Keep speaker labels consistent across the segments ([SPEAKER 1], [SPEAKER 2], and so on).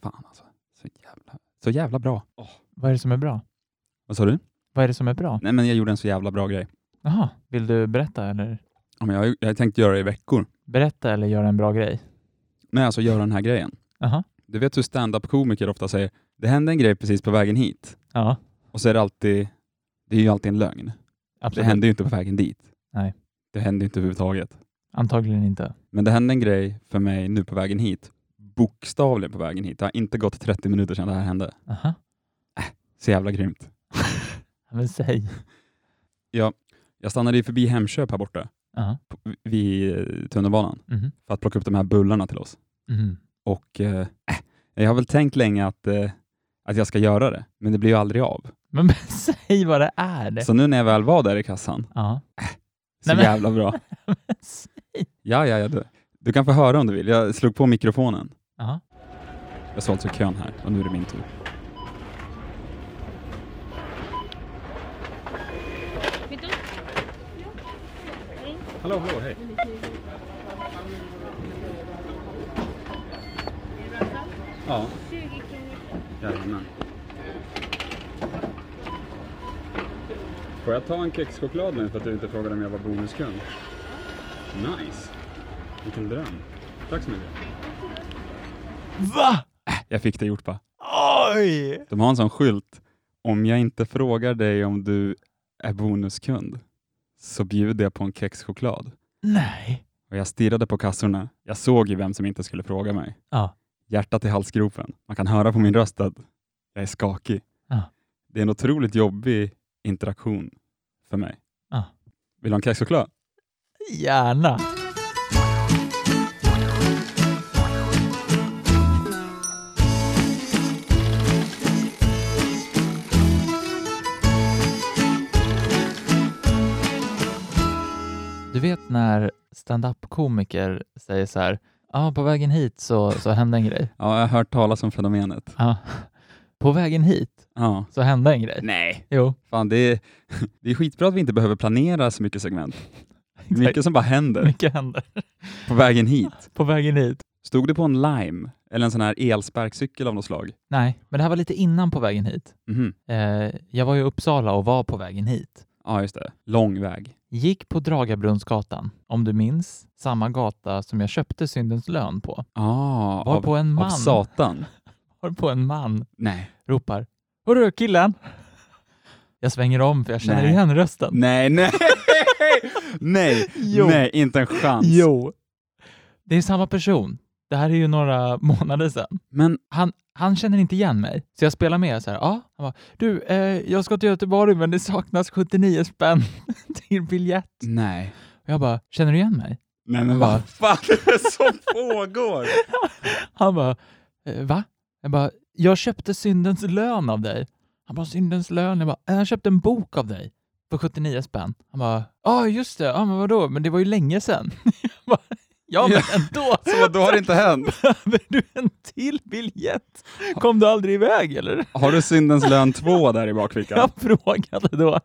[SPEAKER 1] alltså. Så jävla bra.
[SPEAKER 2] Vad är det som är bra?
[SPEAKER 1] Vad sa du?
[SPEAKER 2] Vad är det som är bra?
[SPEAKER 1] Nej, men jag gjorde en så jävla bra grej.
[SPEAKER 2] Jaha, vill du berätta eller?
[SPEAKER 1] Ja, men jag, har- jag har tänkt göra det i veckor.
[SPEAKER 2] Berätta eller göra en bra grej?
[SPEAKER 1] Nej, alltså göra den här grejen.
[SPEAKER 2] Jaha.
[SPEAKER 1] Du vet hur stand-up-komiker ofta säger det hände en grej precis på vägen hit.
[SPEAKER 2] Ja,
[SPEAKER 1] Och så är det alltid, det är ju alltid en lögn. Det
[SPEAKER 2] absolut.
[SPEAKER 1] hände ju inte på vägen dit.
[SPEAKER 2] Nej.
[SPEAKER 1] Det hände ju inte överhuvudtaget.
[SPEAKER 2] Antagligen inte.
[SPEAKER 1] Men det hände en grej för mig nu på vägen hit. Bokstavligen på vägen hit. Det har inte gått 30 minuter sedan det här hände.
[SPEAKER 2] Aha.
[SPEAKER 1] Så jävla grymt.
[SPEAKER 2] Men säg.
[SPEAKER 1] Jag stannade ju förbi Hemköp här borta
[SPEAKER 2] Aha.
[SPEAKER 1] på- vid eh, tunnelbanan
[SPEAKER 2] Mhm.
[SPEAKER 1] för att plocka upp de här bullarna till oss.
[SPEAKER 2] Mhm.
[SPEAKER 1] Och eh, äh, jag har väl tänkt länge att, eh, att jag ska göra det, men det blir ju aldrig av.
[SPEAKER 2] Men säg vad det är.
[SPEAKER 1] Så nu när jag väl var där i kassan,
[SPEAKER 2] Ja.
[SPEAKER 1] så
[SPEAKER 2] Nej, men-
[SPEAKER 1] jävla bra. Ja, ja, ja. Du, du kan få höra om du vill. Jag slog på mikrofonen.
[SPEAKER 2] Aha.
[SPEAKER 1] Jag såg alltså kön här och nu är det min tur. Hallå, hallå, hej. Ja. Jajamän. Får jag ta en kexchoklad nu för att du inte frågade om jag var bonuskund? Nice. Vilken dröm. Tack så mycket.
[SPEAKER 2] Va?
[SPEAKER 1] Jag fick det gjort bara.
[SPEAKER 2] Oj!
[SPEAKER 1] De har en sån skylt. Om jag inte frågar dig om du är bonuskund så bjuder jag på en kexchoklad.
[SPEAKER 2] Nej.
[SPEAKER 1] Och jag stirrade på kassorna. Jag såg ju vem som inte skulle fråga mig.
[SPEAKER 2] Ja.
[SPEAKER 1] Hjärtat i halsgropen. Man kan höra på min röst att jag är skakig.
[SPEAKER 2] Ja.
[SPEAKER 1] Det är en otroligt jobbig interaktion för mig.
[SPEAKER 2] Ja.
[SPEAKER 1] Vill du ha en kexchoklad?
[SPEAKER 2] Gärna. Du vet när stand-up-komiker säger så här, ja, på vägen hit så, så hände en grej.
[SPEAKER 1] Ja, jag har hört talas om fenomenet.
[SPEAKER 2] Ja. På vägen hit
[SPEAKER 1] Ja.
[SPEAKER 2] så hände en grej.
[SPEAKER 1] Nej.
[SPEAKER 2] Jo,
[SPEAKER 1] Fan, det är, det är skitbra att vi inte behöver planera så mycket segment. Mycket som bara händer
[SPEAKER 2] mycket händer.
[SPEAKER 1] på vägen hit.
[SPEAKER 2] På vägen hit.
[SPEAKER 1] Stod du på en Lime eller en sån här elsparkcykel av något slag?
[SPEAKER 2] Nej, men det här var lite innan på vägen hit.
[SPEAKER 1] Mhm.
[SPEAKER 2] Eh, jag var ju i Uppsala och var på vägen hit.
[SPEAKER 1] Ja, just det. Lång väg.
[SPEAKER 2] Gick på Dragabrunnsgatan, om du minns, samma gata som jag köpte syndens lön på.
[SPEAKER 1] Ah,
[SPEAKER 2] Var
[SPEAKER 1] av,
[SPEAKER 2] på en
[SPEAKER 1] av
[SPEAKER 2] man,
[SPEAKER 1] Satan.
[SPEAKER 2] var på en man
[SPEAKER 1] Nej.
[SPEAKER 2] ropar Hörru killen! Jag svänger om för jag känner
[SPEAKER 1] Nej.
[SPEAKER 2] igen rösten.
[SPEAKER 1] Nej, nej, nej,
[SPEAKER 2] Jo.
[SPEAKER 1] nej, inte en chans.
[SPEAKER 2] Jo! Det är samma person. Det här är ju några månader sedan.
[SPEAKER 1] Men
[SPEAKER 2] Han, han känner inte igen mig, så jag spelar med så här. Ja, han bara, du, eh, jag ska till Göteborg men det saknas 79 spänn till biljett.
[SPEAKER 1] nej.
[SPEAKER 2] Och jag bara, känner du igen mig?
[SPEAKER 1] Nej, men
[SPEAKER 2] Va?
[SPEAKER 1] vad fan är det som pågår?
[SPEAKER 2] Han bara, eh, va? Jag bara, jag köpte syndens lön av dig. Han bara, syndens lön? Jag bara, "Eh, jag köpte en bok av dig för 79 spänn. Han bara, ja ah, just det, ja men vadå, men det var ju länge sedan. Jag bara, ja men ändå,
[SPEAKER 1] Så vad, då har det inte hänt.
[SPEAKER 2] behöver du en till biljett? Kom du aldrig iväg eller?
[SPEAKER 1] Har du syndens lön 2 där i bakfickan?
[SPEAKER 2] Jag frågade då.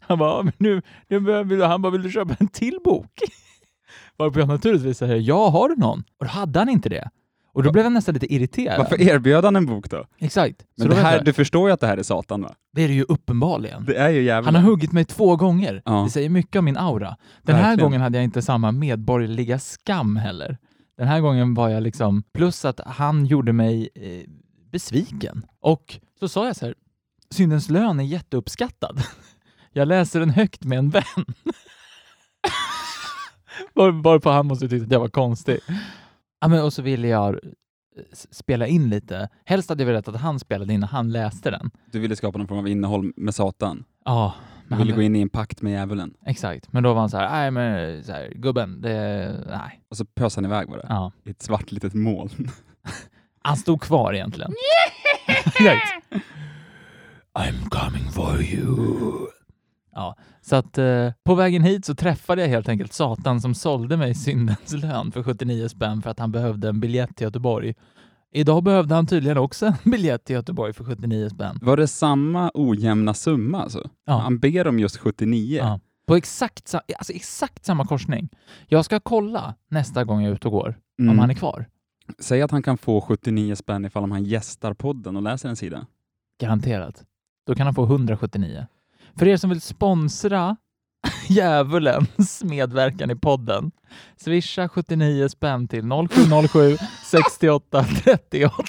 [SPEAKER 2] Han bara, "Ja, men nu, nu behöver du, han bara, vill du köpa en till bok? Varpå jag naturligtvis säger, ja har du någon? Och då hade han inte det. Och då blev jag nästan lite irriterad.
[SPEAKER 1] Varför erbjöd han en bok då?
[SPEAKER 2] Exakt.
[SPEAKER 1] Men
[SPEAKER 2] så
[SPEAKER 1] det
[SPEAKER 2] då
[SPEAKER 1] här,
[SPEAKER 2] här,
[SPEAKER 1] du förstår ju att det här är Satan va?
[SPEAKER 2] det är det ju uppenbarligen.
[SPEAKER 1] Det är ju
[SPEAKER 2] Han har
[SPEAKER 1] jävla...
[SPEAKER 2] huggit mig två gånger.
[SPEAKER 1] Ja.
[SPEAKER 2] Det säger mycket om min aura. Den här
[SPEAKER 1] Verkligen.
[SPEAKER 2] gången hade jag inte samma medborgerliga skam heller. Den här gången var jag liksom... Plus att han gjorde mig eh, besviken. Och så sa jag så här, syndens lön är jätteuppskattad. Jag läser den högt med en vän. Var- Varpå han måste tycka att jag var konstig. Ja, men och så ville jag eh, s- spela in lite. Helst hade jag velat att han spelade in när han läste den.
[SPEAKER 1] Du ville skapa någon form av innehåll med Satan.
[SPEAKER 2] Ja,
[SPEAKER 1] Du
[SPEAKER 2] men
[SPEAKER 1] ville
[SPEAKER 2] han-
[SPEAKER 1] gå in i en pakt med djävulen.
[SPEAKER 2] Exakt, men då var han så här, nej men så här, gubben, det, nej.
[SPEAKER 1] Och så pös han iväg bara.
[SPEAKER 2] Ja.
[SPEAKER 1] I ett svart litet moln.
[SPEAKER 2] Han stod kvar egentligen. Exakt. I'm coming for you. Ja, så att eh, på vägen hit så träffade jag helt enkelt Satan som sålde mig syndens lön för 79 spänn för att han behövde en biljett till Göteborg. Idag behövde han tydligen också en biljett till Göteborg för 79 spänn.
[SPEAKER 1] Var det samma ojämna summa alltså?
[SPEAKER 2] Ja.
[SPEAKER 1] Han ber om just 79.
[SPEAKER 2] Ja. På exakt, sa- alltså exakt samma korsning. Jag ska kolla nästa gång jag är ute och går
[SPEAKER 1] Mm.
[SPEAKER 2] om han är kvar.
[SPEAKER 1] Säg att han kan få 79 spänn ifall han gästar podden och läser en sida.
[SPEAKER 2] Garanterat. Då kan han få 179. För er som vill sponsra djävulens medverkan i podden, swisha 79 spänn till 0707 68 30 80.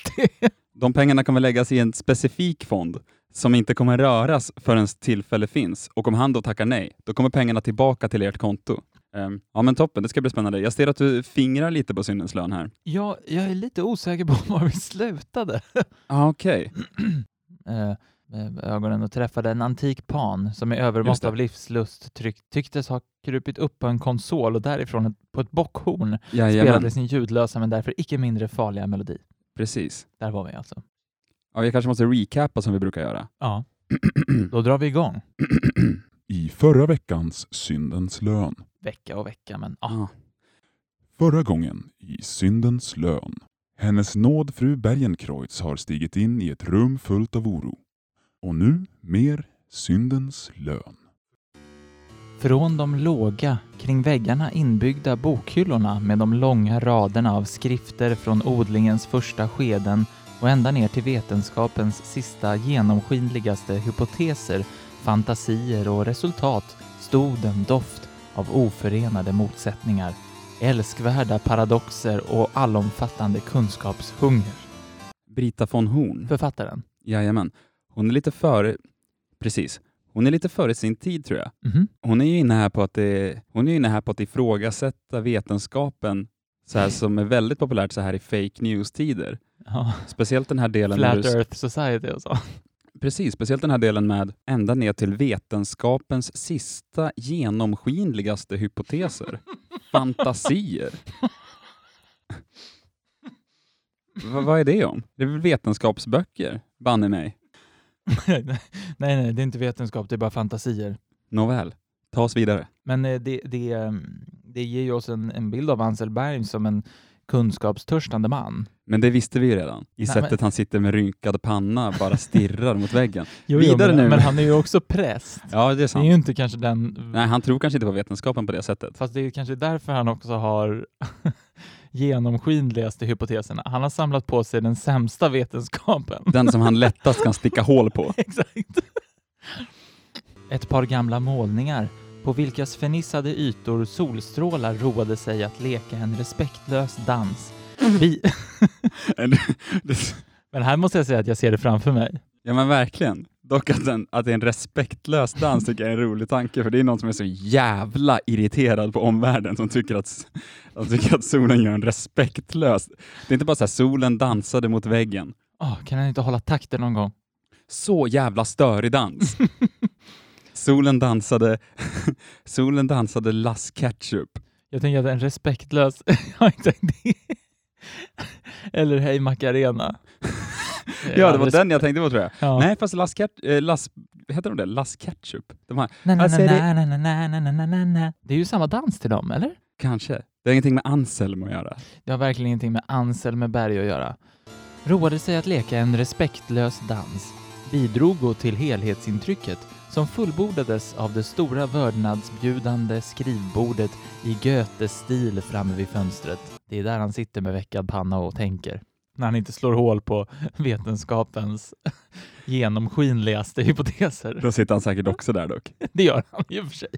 [SPEAKER 1] De pengarna kommer läggas i en specifik fond som inte kommer röras förrän tillfälle finns. Och om han då tackar nej, då kommer pengarna tillbaka till ert konto. Ehm, ja men toppen, det ska bli spännande. Jag ser att du fingrar lite på syndens lön här.
[SPEAKER 2] Jag, jag är lite osäker på var vi slutade.
[SPEAKER 1] Ah, Okej.
[SPEAKER 2] eh, med ögonen och träffade en antik pan som i övermått
[SPEAKER 1] Just det.
[SPEAKER 2] av livslust tryck, tycktes ha krupit upp på en konsol och därifrån ett, på ett bockhorn spelade
[SPEAKER 1] Jajamän,
[SPEAKER 2] sin ljudlösa men därför icke mindre farliga melodi.
[SPEAKER 1] precis.
[SPEAKER 2] Där var vi alltså.
[SPEAKER 1] Ja, jag kanske måste recapa som vi brukar göra.
[SPEAKER 2] Ja, då drar vi igång.
[SPEAKER 3] I förra veckans Syndens lön.
[SPEAKER 2] Vecka och vecka, men ja.
[SPEAKER 1] Ah.
[SPEAKER 3] Förra gången i Syndens lön. Hennes nåd fru Bergenkreutz har stigit in i ett rum fullt av oro. Och nu mer Syndens lön.
[SPEAKER 2] Från de låga, kring väggarna inbyggda bokhyllorna med de långa raderna av skrifter från odlingens första skeden och ända ner till vetenskapens sista genomskinligaste hypoteser, fantasier och resultat stod en doft av oförenade motsättningar, älskvärda paradoxer och allomfattande kunskapshunger.
[SPEAKER 1] Brita von Horn.
[SPEAKER 2] Författaren?
[SPEAKER 1] Jajamän. Hon är lite före... Precis. Hon är lite före sin tid tror jag.
[SPEAKER 2] Mhm.
[SPEAKER 1] Hon är ju inne här på att, det, hon är ju inne här på att ifrågasätta vetenskapen så här, som är väldigt populärt så här i fake news-tider.
[SPEAKER 2] Ja.
[SPEAKER 1] Speciellt den här delen... när
[SPEAKER 2] Flat
[SPEAKER 1] du-
[SPEAKER 2] Earth Society och så.
[SPEAKER 1] Precis, speciellt den här delen med ända ner till vetenskapens sista genomskinligaste hypoteser. Fantasier. Va, vad är det om? Det är väl vetenskapsböcker, banne mig.
[SPEAKER 2] nej, nej, det är inte vetenskap, det är bara fantasier.
[SPEAKER 1] Nåväl, ta oss vidare.
[SPEAKER 2] Men eh, det, det, eh, det ger ju oss en, en bild av Anselberg som en kunskapstörstande man.
[SPEAKER 1] Men det visste vi ju redan, i
[SPEAKER 2] Nej,
[SPEAKER 1] sättet
[SPEAKER 2] men-
[SPEAKER 1] han sitter med rynkad panna och bara stirrar mot väggen.
[SPEAKER 2] Jo,
[SPEAKER 1] jo, Vidare
[SPEAKER 2] men,
[SPEAKER 1] men- nu.
[SPEAKER 2] Men han är ju också präst.
[SPEAKER 1] Ja, det är
[SPEAKER 2] Det är ju
[SPEAKER 1] sant.
[SPEAKER 2] inte kanske den...
[SPEAKER 1] Nej, han tror kanske inte på vetenskapen på det sättet.
[SPEAKER 2] Fast det är ju kanske därför han också har genomskinligaste hypoteserna. Han har samlat på sig den sämsta vetenskapen.
[SPEAKER 1] Den som han lättast kan sticka hål på.
[SPEAKER 2] Exakt. Ett par gamla målningar på vilkas förnissade ytor solstrålar roade sig att leka en respektlös dans. Vi... Men här måste jag säga att jag ser det framför mig.
[SPEAKER 1] Ja men verkligen. Dock att, den, att det är en respektlös dans tycker jag är en rolig tanke, för det är någon som är så jävla irriterad på omvärlden som tycker att, som tycker att solen gör en respektlös... Det är inte bara så här, solen dansade mot väggen.
[SPEAKER 2] Åh, kan han inte hålla takten någon gång?
[SPEAKER 1] Så jävla störig dans! Solen dansade, solen dansade Las Ketchup.
[SPEAKER 2] Jag tänker att en respektlös... Jag har inte tänkt det. Eller Hej Macarena.
[SPEAKER 1] Ja, det var den jag tänkte på tror jag.
[SPEAKER 2] Ja.
[SPEAKER 1] Nej, fast Las Ketchup... Eh, Las, heter de det? Las Ketchup? De här,
[SPEAKER 2] Na, na,
[SPEAKER 1] Alltså,
[SPEAKER 2] na,
[SPEAKER 1] är
[SPEAKER 2] na, na, na, na, na, na, na, na. Det är ju samma dans till dem, eller?
[SPEAKER 1] kanske. Det har ingenting med Anselm att göra.
[SPEAKER 2] Det har verkligen ingenting med Anselme Berg att göra. Roade sig att leka en respektlös dans. Bidrog och till helhetsintrycket som fullbordades av det stora vördnadsbjudande skrivbordet i Goethe-stil framme vid fönstret. Det är där han sitter med veckad panna och tänker. När han inte slår hål på vetenskapens genomskinligaste hypoteser.
[SPEAKER 1] Då sitter han säkert också där dock.
[SPEAKER 2] Det gör han i och för sig.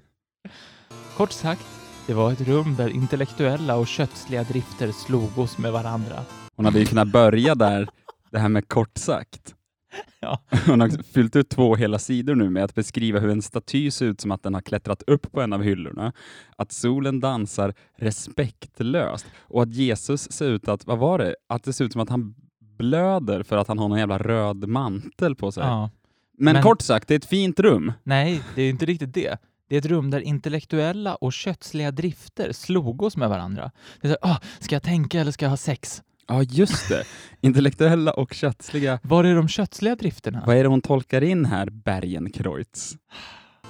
[SPEAKER 2] Kort sagt, det var ett rum där intellektuella och kötsliga drifter slogos med varandra.
[SPEAKER 1] Hon hade ju kunnat börja där, det här med kort sagt.
[SPEAKER 2] Ja.
[SPEAKER 1] Hon har också fyllt ut två hela sidor nu med att beskriva hur en staty ser ut som att den har klättrat upp på en av hyllorna, att solen dansar respektlöst och att Jesus ser ut att, vad var det, att det ser ut som att han blöder för att han har någon jävla röd mantel på sig.
[SPEAKER 2] Ja.
[SPEAKER 1] Men,
[SPEAKER 2] Men-
[SPEAKER 1] kort sagt, det är ett fint rum.
[SPEAKER 2] Nej, det är inte riktigt det. Det är ett rum där intellektuella och kötsliga drifter slogos med varandra. Det är så här, ah, ska jag tänka eller ska jag ha sex?
[SPEAKER 1] Ja, just det. Intellektuella och kötsliga.
[SPEAKER 2] Var är de kötsliga drifterna?
[SPEAKER 1] Vad är det hon tolkar in här, Bergenkreutz?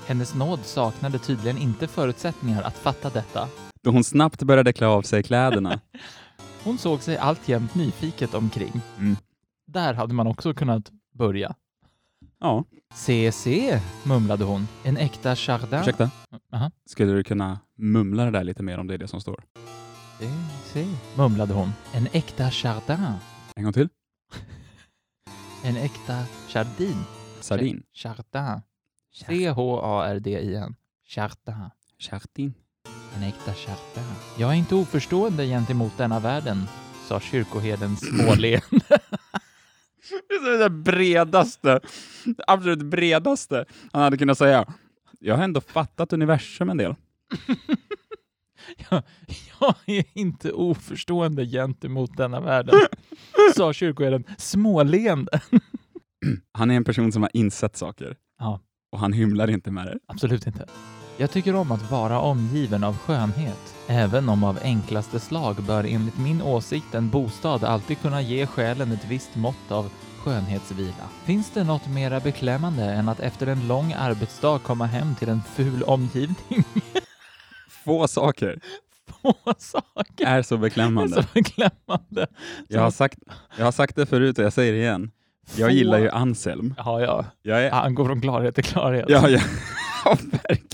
[SPEAKER 2] Hennes nåd saknade tydligen inte förutsättningar att fatta detta.
[SPEAKER 1] Då hon snabbt började klä av sig kläderna.
[SPEAKER 2] Hon såg sig alltjämt nyfiket omkring.
[SPEAKER 1] Mm.
[SPEAKER 2] Där hade man också kunnat börja.
[SPEAKER 1] Ja,
[SPEAKER 2] Se, se, mumlade hon. En äkta chardin.
[SPEAKER 1] ursäkta.
[SPEAKER 2] Aha.
[SPEAKER 1] Skulle du kunna mumla det där lite mer om det är det som står?
[SPEAKER 2] Se, se, mumlade hon. En äkta chardin.
[SPEAKER 1] En gång till.
[SPEAKER 2] En äkta chardin.
[SPEAKER 1] Sardin.
[SPEAKER 2] Chardin. C-H-A-R-D-I-N. Chardin.
[SPEAKER 1] Chardin.
[SPEAKER 2] En äkta chardin. Jag är inte oförstående gentemot denna världen, sa kyrkoherden småleende.
[SPEAKER 1] Det är det bredaste, det absolut bredaste han hade kunnat säga. Jag har ändå fattat universum en del.
[SPEAKER 2] Jag är inte oförstående gentemot denna världen, sa kyrkoherden småleende.
[SPEAKER 1] Han är en person som har insett saker.
[SPEAKER 2] Ja.
[SPEAKER 1] Och han hymlar inte med det.
[SPEAKER 2] Absolut inte. Jag tycker om att vara omgiven av skönhet. Även om av enklaste slag bör enligt min åsikt en bostad alltid kunna ge själen ett visst mått av skönhetsvila. Finns det något mera beklämmande än att efter en lång arbetsdag komma hem till en ful omgivning?
[SPEAKER 1] Få saker
[SPEAKER 2] Få saker
[SPEAKER 1] är så
[SPEAKER 2] är
[SPEAKER 1] beklämmande.
[SPEAKER 2] så beklämmande.
[SPEAKER 1] Jag har sagt, jag har sagt det förut och jag säger det igen. Jag
[SPEAKER 2] Få-
[SPEAKER 1] gillar ju Anselm.
[SPEAKER 2] Ja, ja.
[SPEAKER 1] Jag är...
[SPEAKER 2] Han går från klarhet till klarhet.
[SPEAKER 1] Ja, ja. ja, verkligen.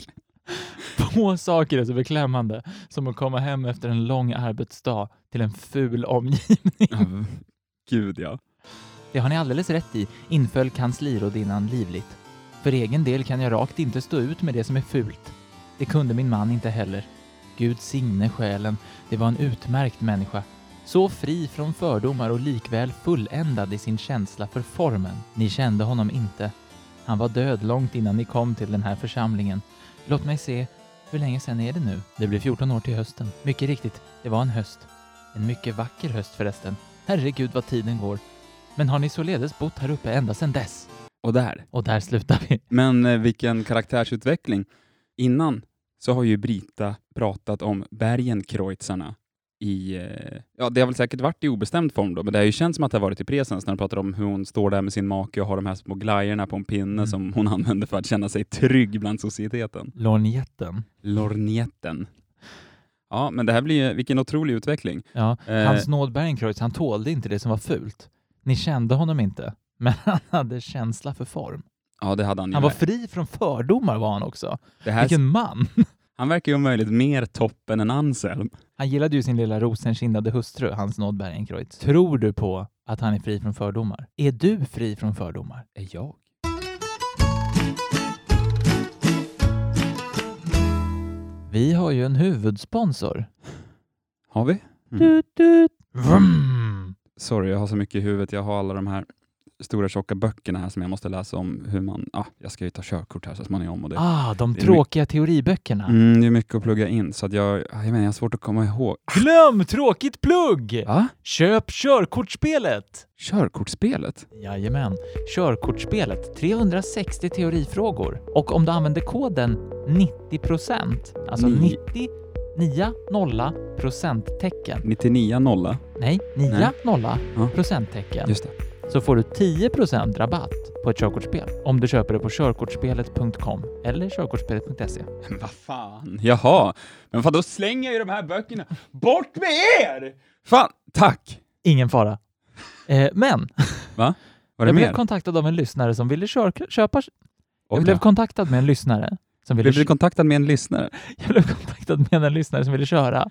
[SPEAKER 2] Få saker är så beklämmande som att komma hem efter en lång arbetsdag till en ful omgivning.
[SPEAKER 1] Ja, Gud ja.
[SPEAKER 2] Det har ni alldeles rätt i, inföll kanslirådinnan livligt. För egen del kan jag rakt inte stå ut med det som är fult. Det kunde min man inte heller. Gud signe själen, det var en utmärkt människa. Så fri från fördomar och likväl fulländad i sin känsla för formen. Ni kände honom inte. Han var död långt innan ni kom till den här församlingen. Låt mig se, hur länge sedan är det nu? Det blir 14 år till hösten. Mycket riktigt, det var en höst. En mycket vacker höst förresten. Herregud vad tiden går. Men har ni således bott här uppe ända sedan dess?
[SPEAKER 1] Och där.
[SPEAKER 2] Och där slutar vi.
[SPEAKER 1] Men eh, vilken karaktärsutveckling. Innan så har ju Brita pratat om bergenkreuzarna i, eh, ja det har väl säkert varit i obestämd form då, men det har ju känts som att det har varit i presens när de pratar om hur hon står där med sin make och har de här små glajjorna på en pinne
[SPEAKER 2] Mm.
[SPEAKER 1] som hon använder för att känna sig trygg bland societeten.
[SPEAKER 2] Lornjetten.
[SPEAKER 1] Lornjetten. Ja, men det här blir ju, vilken otrolig utveckling.
[SPEAKER 2] Ja,
[SPEAKER 1] Eh,
[SPEAKER 2] Hans nåd Bergenkreutz, han tålde inte det som var fult. Ni kände honom inte, men han hade känsla för form.
[SPEAKER 1] ja, det hade han ju.
[SPEAKER 2] Han var
[SPEAKER 1] med.
[SPEAKER 2] fri från fördomar var han också.
[SPEAKER 1] det här,
[SPEAKER 2] Vilken man!
[SPEAKER 1] Han verkar ju om möjligt mer toppen än Anselm.
[SPEAKER 2] Han gillade ju sin lilla rosenkindade hustru, Hans nåd Bergenkreutz. Tror du på att han är fri från fördomar? Är du fri från fördomar?
[SPEAKER 1] Är jag?
[SPEAKER 2] Vi har ju en huvudsponsor.
[SPEAKER 1] Har vi?
[SPEAKER 2] Tut, tut. Vroom.
[SPEAKER 1] Sorry, jag har så mycket i huvudet. Jag har alla de här stora tjocka böckerna här som jag måste läsa om hur man... Ah, jag ska ju ta körkort här så småningom och det...
[SPEAKER 2] Ah, de
[SPEAKER 1] det är
[SPEAKER 2] tråkiga teoriböckerna.
[SPEAKER 1] Mm, det är mycket att plugga in så att jag... ah, Jag menar, jag har svårt att komma ihåg.
[SPEAKER 2] Glöm tråkigt plugg!
[SPEAKER 1] Va?
[SPEAKER 2] Köp körkortsspelet!
[SPEAKER 1] Körkortsspelet?
[SPEAKER 2] Jajamän, körkortsspelet. 360 teorifrågor. Och om du använder koden 90%, alltså
[SPEAKER 1] Ni-
[SPEAKER 2] 90 9 nolla procenttecken.
[SPEAKER 1] 99 nolla.
[SPEAKER 2] Nej, 9
[SPEAKER 1] Nej.
[SPEAKER 2] nolla
[SPEAKER 1] Ja.
[SPEAKER 2] procenttecken.
[SPEAKER 1] Just det.
[SPEAKER 2] Så får du 10% rabatt på ett körkortsspel om du köper det på körkortsspelet.com eller körkortsspelet.se.
[SPEAKER 1] Men vad fan? Jaha. Men fan, då slänger jag ju de här böckerna. Bort med er! Fan, tack!
[SPEAKER 2] Ingen fara. Eh, men
[SPEAKER 1] Var det
[SPEAKER 2] jag
[SPEAKER 1] mer?
[SPEAKER 2] blev kontaktad av en lyssnare som ville kör- köpa
[SPEAKER 1] Oj
[SPEAKER 2] Jag
[SPEAKER 1] då.
[SPEAKER 2] blev kontaktad med en lyssnare som ville
[SPEAKER 1] blev du kontaktad med en lyssnare?
[SPEAKER 2] Jag blev kontaktad med en lyssnare som ville köra.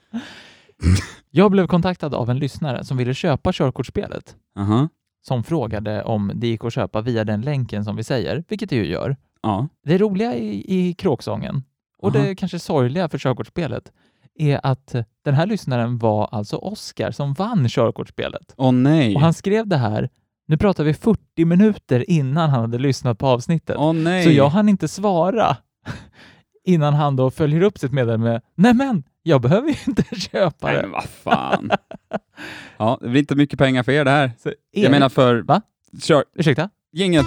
[SPEAKER 2] Jag blev kontaktad av en lyssnare som ville köpa körkortsspelet
[SPEAKER 1] Aha.
[SPEAKER 2] som frågade om det gick att köpa via den länken som vi säger, vilket det ju gör.
[SPEAKER 1] Ja.
[SPEAKER 2] Det roliga i, i kråksången och
[SPEAKER 1] Aha.
[SPEAKER 2] det kanske sorgliga för körkortsspelet är att den här lyssnaren var alltså Oscar som vann körkortsspelet.
[SPEAKER 1] Åh nej.
[SPEAKER 2] Och han skrev det här, nu pratar vi 40 minuter innan han hade lyssnat på avsnittet.
[SPEAKER 1] Åh nej.
[SPEAKER 2] Så jag hann inte svara innan han då följer upp sitt meddelande med Nej men, jag behöver ju inte köpa
[SPEAKER 1] Nej
[SPEAKER 2] det.
[SPEAKER 1] men vad fan. ja, det blir inte mycket pengar för er det här.
[SPEAKER 2] Så,
[SPEAKER 1] Jag menar för...
[SPEAKER 2] Va?
[SPEAKER 1] Kör.
[SPEAKER 2] Ursäkta?
[SPEAKER 1] Jingeln.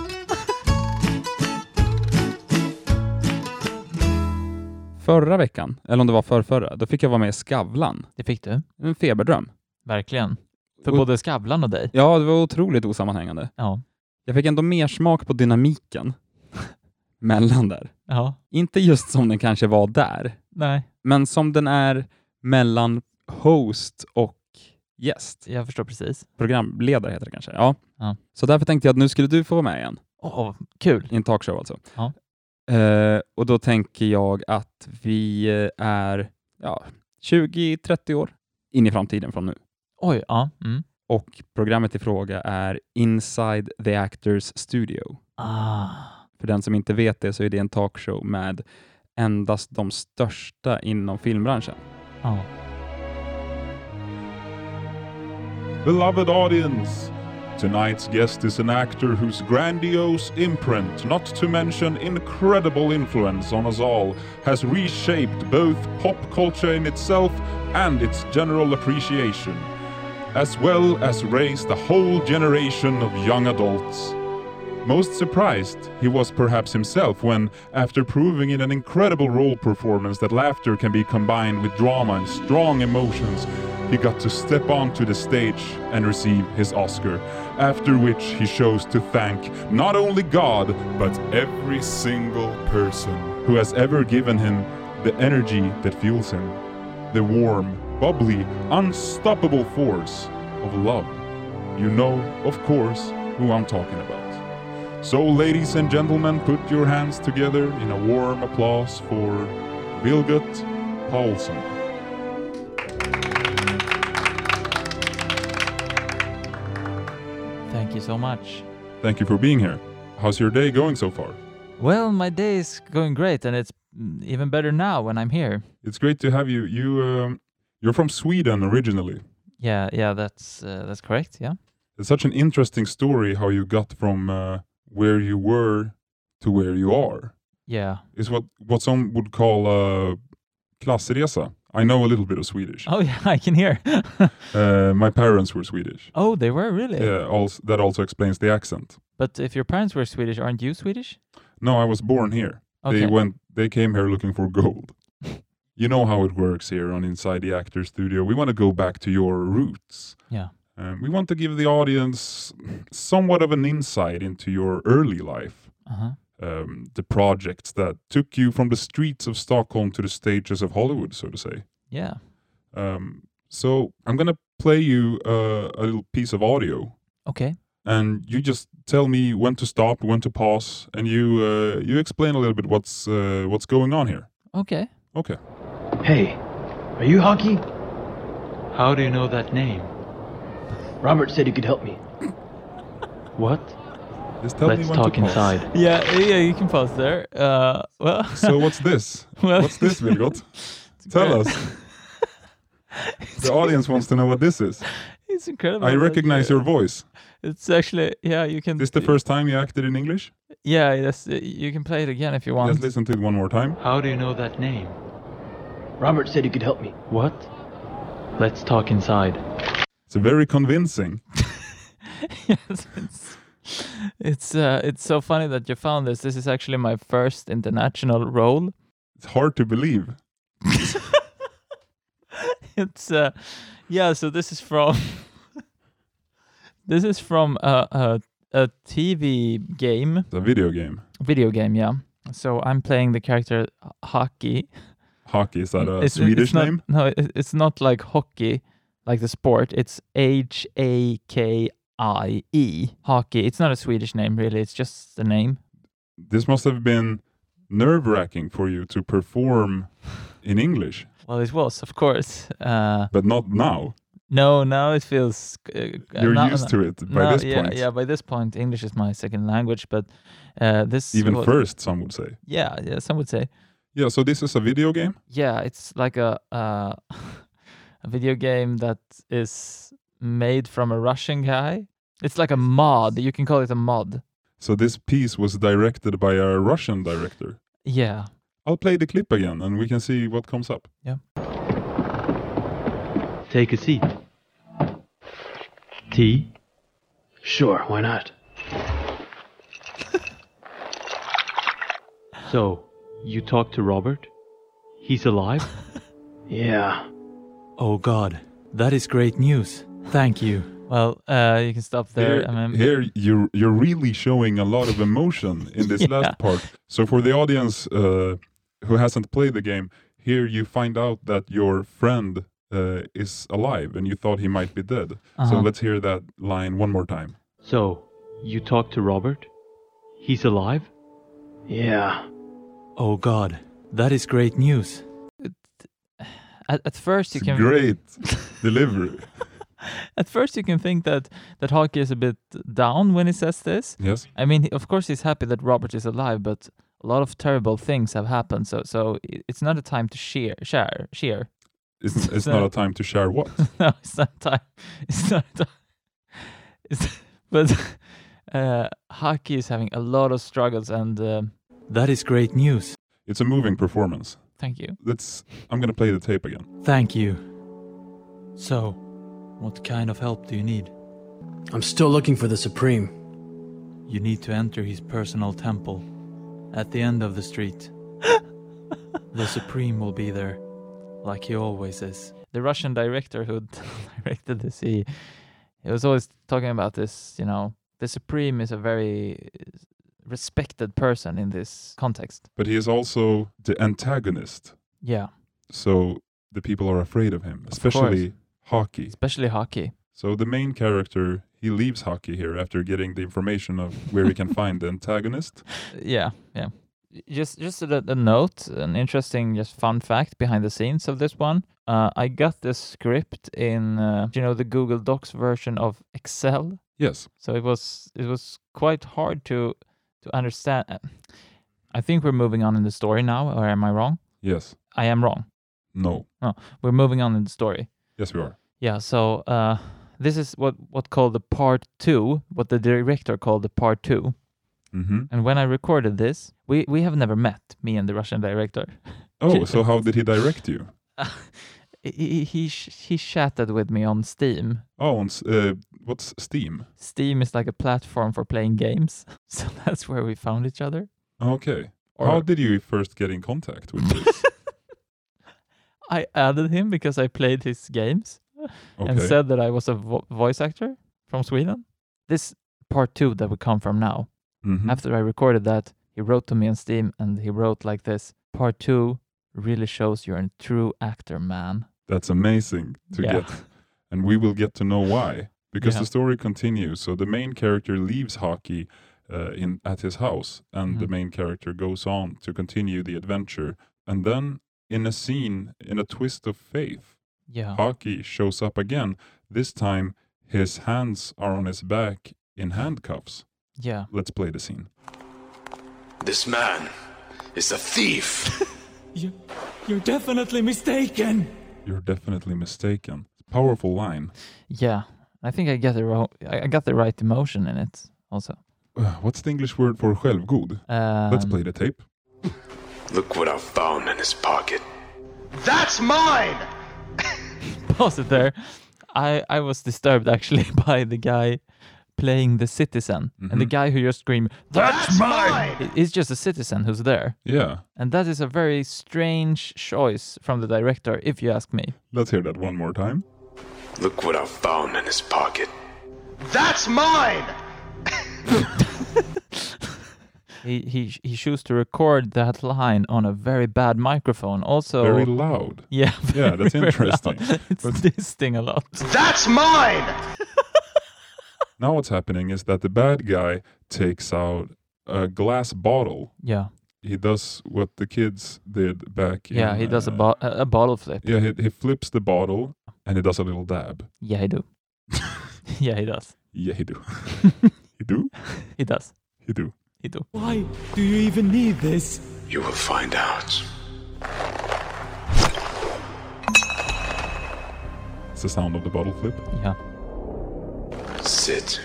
[SPEAKER 1] Förra veckan, eller om det var förrförra, då fick jag vara med i Skavlan.
[SPEAKER 2] Det fick du.
[SPEAKER 1] En feberdröm.
[SPEAKER 2] Verkligen. För
[SPEAKER 1] Och-
[SPEAKER 2] både Skavlan och dig.
[SPEAKER 1] Ja, det var otroligt osammanhängande.
[SPEAKER 2] Ja.
[SPEAKER 1] Jag fick ändå mer smak på dynamiken mellan där.
[SPEAKER 2] Ja.
[SPEAKER 1] Inte just som den kanske var där,
[SPEAKER 2] Nej,
[SPEAKER 1] men som den är mellan host och gäst.
[SPEAKER 2] jag förstår precis.
[SPEAKER 1] programledare heter det kanske. Ja.
[SPEAKER 2] Ja.
[SPEAKER 1] Så därför tänkte jag att nu skulle du få vara med igen,
[SPEAKER 2] Åh, kul.
[SPEAKER 1] i en talkshow alltså.
[SPEAKER 2] Ja.
[SPEAKER 1] Eh, och då tänker jag att vi eh, är ja, 20-30 år in i framtiden från nu.
[SPEAKER 2] Oj, ja. Mm.
[SPEAKER 1] och programmet i fråga är Inside the Actors Studio.
[SPEAKER 2] Ah.
[SPEAKER 1] För den som inte vet det så är det en talkshow med endast de största inom filmbranschen.
[SPEAKER 2] Ja.
[SPEAKER 3] Beloved audience, tonight's guest is an actor whose grandiose imprint, not to mention incredible influence on us all, has reshaped both pop culture in itself and its general appreciation, as well as raised a whole generation of young adults. Most surprised, he was perhaps himself when, after proving in an incredible role performance that laughter can be combined with drama and strong emotions, he got to step onto the stage and receive his Oscar. After which he chose to thank not only God, but every single person who has ever given him the energy that fuels him, the warm, bubbly, unstoppable force of love. You know, of course, who I'm talking about. So, ladies and gentlemen, put your hands together in a warm applause for Vilgot Paulsen.
[SPEAKER 2] Thank you so much.
[SPEAKER 3] Thank you for being here. How's your day going so far?
[SPEAKER 2] Well, my day is going great and it's mm, even better now when I'm here.
[SPEAKER 3] It's great to have you. You um, you're from Sweden originally.
[SPEAKER 2] Yeah, yeah, that's uh, that's correct. Yeah.
[SPEAKER 3] It's such an interesting story how you got from uh, where you were to where you are.
[SPEAKER 2] Yeah.
[SPEAKER 3] It's what what some would call a klassresa. I know a little bit of Swedish.
[SPEAKER 2] Oh yeah, I can hear.
[SPEAKER 3] Uh, my parents were Swedish.
[SPEAKER 2] oh, they were really.
[SPEAKER 3] Yeah, also, that also explains the accent.
[SPEAKER 2] But if your parents were Swedish, aren't you Swedish?
[SPEAKER 3] No, I was born here.
[SPEAKER 2] Okay.
[SPEAKER 3] They went. They came here looking for gold. you know how it works here on Inside the Actor Studio. We want to go back to your roots.
[SPEAKER 2] Yeah.
[SPEAKER 3] Um, we want to give the audience somewhat of an insight into your early life,
[SPEAKER 2] Uh-huh.
[SPEAKER 3] um, the projects that took you from the streets of Stockholm to the stages of Hollywood, so to say.
[SPEAKER 2] Yeah.
[SPEAKER 3] Um, so I'm gonna play you uh, a little piece of audio,
[SPEAKER 2] Okay.
[SPEAKER 3] and you just tell me when to stop, when to pause, and you uh, you explain a little bit what's uh, what's going on here.
[SPEAKER 2] Okay.
[SPEAKER 3] Okay.
[SPEAKER 4] Hey, are you Hockey?
[SPEAKER 5] How do you know that name?
[SPEAKER 4] Robert said you could help me.
[SPEAKER 5] What?
[SPEAKER 3] Just tell me
[SPEAKER 5] Let's
[SPEAKER 3] when
[SPEAKER 5] talk
[SPEAKER 3] to pause.
[SPEAKER 5] inside.
[SPEAKER 2] Yeah, yeah, you can pause there. Uh, well,
[SPEAKER 3] So what's this?
[SPEAKER 2] Well-
[SPEAKER 3] what's this, Vilgot? Tell us. The audience wants to know what this is.
[SPEAKER 2] it's incredible.
[SPEAKER 3] I
[SPEAKER 2] that
[SPEAKER 3] recognize
[SPEAKER 2] you-
[SPEAKER 3] your voice.
[SPEAKER 2] It's actually yeah, you can.
[SPEAKER 3] Is this the first time you acted in English?
[SPEAKER 2] Yeah, yes, you can play it again if you want.
[SPEAKER 3] Let's listen to it one more time.
[SPEAKER 5] How do you know that name?
[SPEAKER 4] Robert said you could help me.
[SPEAKER 5] What? Let's talk inside.
[SPEAKER 3] It's very convincing.
[SPEAKER 2] yes, it's it's, uh, it's so funny that you found this. This is actually my first international role.
[SPEAKER 3] It's hard to believe.
[SPEAKER 2] It's uh, yeah. So this is from this is from a, a a TV game,
[SPEAKER 3] It's a video game.
[SPEAKER 2] video game. Yeah. So I'm playing the character uh, Hockey.
[SPEAKER 3] Hockey is that a
[SPEAKER 2] It's-
[SPEAKER 3] Swedish
[SPEAKER 2] it's not,
[SPEAKER 3] name?
[SPEAKER 2] No, it- it's not like hockey, like the sport. It's H A K I E. Hockey. It's not a Swedish name really. It's just the name.
[SPEAKER 3] This must have been nerve-wracking for you to perform in English,
[SPEAKER 2] Well, it was, of course. Uh,
[SPEAKER 3] but not now.
[SPEAKER 2] No, now it feels. Uh,
[SPEAKER 3] You're used to it by this
[SPEAKER 2] yeah,
[SPEAKER 3] point.
[SPEAKER 2] Yeah, by this point, English is my second language, but uh, this.
[SPEAKER 3] Even
[SPEAKER 2] was-
[SPEAKER 3] first, some would say.
[SPEAKER 2] Yeah, yeah, some would say.
[SPEAKER 3] Yeah, so this is a video game.
[SPEAKER 2] Yeah, it's like a uh, a video game that is made from a Russian guy. It's like a mod. You can call it a mod.
[SPEAKER 3] So this piece was directed by a Russian director.
[SPEAKER 2] Yeah.
[SPEAKER 3] I'll play the clip again and we can see what comes up.
[SPEAKER 5] Take a seat. Tea?
[SPEAKER 4] Sure, why not?
[SPEAKER 5] So, you talked to Robert? He's alive?
[SPEAKER 4] Yeah.
[SPEAKER 5] oh god, that is great news. Thank you.
[SPEAKER 2] Well, uh, you can stop there. I mean,
[SPEAKER 3] here you're, you're really showing a lot of emotion in this
[SPEAKER 2] Yeah.
[SPEAKER 3] last part. So for the audience uh, who hasn't played the game, here you find out that your friend uh, is alive and you thought he might be dead. So
[SPEAKER 2] Uh-huh.
[SPEAKER 3] let's hear that line one more time.
[SPEAKER 5] So, you talked to Robert? He's alive?
[SPEAKER 4] Yeah.
[SPEAKER 5] Oh god, that is great news.
[SPEAKER 2] at, at first you
[SPEAKER 3] It's
[SPEAKER 2] can.
[SPEAKER 3] great delivery.
[SPEAKER 2] At first, you can think that that Hawke is a bit down when he says this.
[SPEAKER 3] Yes.
[SPEAKER 2] I mean, he- of course, he's happy that Robert is alive, but a lot of terrible things have happened. So, so i- it's not a time to share, share, share.
[SPEAKER 3] It's, it's not a time to share what?
[SPEAKER 2] no, it's not time. It's not time. It's, but uh, Haki is having a lot of struggles, and um
[SPEAKER 6] That is great news.
[SPEAKER 3] It's a moving performance.
[SPEAKER 2] thank you.
[SPEAKER 3] That's. I'm gonna play the tape again.
[SPEAKER 6] Thank you. So, what kind of help do you need?
[SPEAKER 4] I'm still looking for the Supreme.
[SPEAKER 6] You need to enter his personal temple at the end of the street. the Supreme will be there, like he always is.
[SPEAKER 2] The Russian director who directed this, he he was always talking about this. You know, the Supreme is a very uh, respected person in this context.
[SPEAKER 3] But he is also the antagonist,
[SPEAKER 2] Yeah,
[SPEAKER 3] so the people are afraid of him, especially Hockey.
[SPEAKER 2] especially Haki.
[SPEAKER 3] So the main character, he leaves Hockey here after getting the information of where he can find the antagonist.
[SPEAKER 2] yeah yeah just just a, a note an interesting just fun fact behind the scenes of this one uh, i got this script in uh, you know the google docs version of excel
[SPEAKER 3] Yes.
[SPEAKER 2] so it was it was quite hard to to understand Uh, i think we're moving on in the story now or am i wrong
[SPEAKER 3] Yes.
[SPEAKER 2] i am wrong
[SPEAKER 3] No.
[SPEAKER 2] we're moving on in the story
[SPEAKER 3] Yes, we are.
[SPEAKER 2] yeah, so uh, this is what what called the part two, what the director called the part two.
[SPEAKER 3] Mm-hmm.
[SPEAKER 2] And when I recorded this, we we have never met, me and the Russian director.
[SPEAKER 3] Oh, so how did he direct you?
[SPEAKER 2] He- He he sh- he chatted with me on Steam.
[SPEAKER 3] Oh, on, s- uh, what's Steam?
[SPEAKER 2] Steam is like a platform for playing games, so that's where we found each other.
[SPEAKER 3] Okay.
[SPEAKER 2] Or
[SPEAKER 3] How did you first get in contact with this?
[SPEAKER 2] I added him because I played his games and
[SPEAKER 3] Okay.
[SPEAKER 2] said that I was a vo- voice actor from Sweden. This part two that we come from now
[SPEAKER 3] Mhm.
[SPEAKER 2] After I recorded that, he wrote to me on Steam and he wrote like this Part two really shows you're a true actor, man.
[SPEAKER 3] That's amazing to
[SPEAKER 2] Yeah.
[SPEAKER 3] get. And we will get to know why because
[SPEAKER 2] Yeah.
[SPEAKER 3] the story continues. So the main character leaves hockey uh, in at his house, and the
[SPEAKER 2] Mhm.
[SPEAKER 3] main character goes on to continue the adventure. And then, in a scene, in a twist of faith,
[SPEAKER 2] Yeah.
[SPEAKER 3] hockey shows up again. This time, his hands are on his back in handcuffs.
[SPEAKER 2] Yeah.
[SPEAKER 3] Let's play the scene.
[SPEAKER 7] This man is a thief.
[SPEAKER 6] You, you're definitely mistaken!
[SPEAKER 3] You're definitely mistaken. Powerful line.
[SPEAKER 2] Yeah. I think I got the ro- I I got the right emotion in it also.
[SPEAKER 3] Uh, What's the English word for självgod?
[SPEAKER 2] Um,
[SPEAKER 3] Let's play the tape.
[SPEAKER 7] Look what I found in his pocket.
[SPEAKER 8] That's mine!
[SPEAKER 2] Pause it there. I, I was disturbed actually by the guy playing the citizen and the
[SPEAKER 3] Mm-hmm.
[SPEAKER 2] guy who just screamed, That's mine! He's just a citizen who's there.
[SPEAKER 3] Yeah,
[SPEAKER 2] And that is a very strange choice from the director, if you ask me.
[SPEAKER 3] let's hear that one more time.
[SPEAKER 7] Look what I found in his pocket.
[SPEAKER 8] That's mine!
[SPEAKER 2] He he he chose to record that line on a very bad microphone. Also,
[SPEAKER 3] Very loud.
[SPEAKER 2] yeah, very
[SPEAKER 3] Yeah, that's
[SPEAKER 2] loud.
[SPEAKER 3] interesting.
[SPEAKER 2] it's disting a lot.
[SPEAKER 8] That's mine!
[SPEAKER 3] Now what's happening is that the bad guy takes out a glass bottle.
[SPEAKER 2] Yeah,
[SPEAKER 3] He does what the kids did back
[SPEAKER 2] yeah,
[SPEAKER 3] in,
[SPEAKER 2] he does a,
[SPEAKER 3] uh,
[SPEAKER 2] bo- a a bottle flip.
[SPEAKER 3] Yeah, he, he flips the bottle and he does a little dab.
[SPEAKER 2] Yeah, he do. yeah, he does.
[SPEAKER 3] Yeah, he do. he do?
[SPEAKER 2] He does.
[SPEAKER 3] He do.
[SPEAKER 2] He do.
[SPEAKER 6] Why do you even need this?
[SPEAKER 7] You will find out.
[SPEAKER 3] It's the sound of the bottle flip.
[SPEAKER 2] Yeah,
[SPEAKER 7] Sit.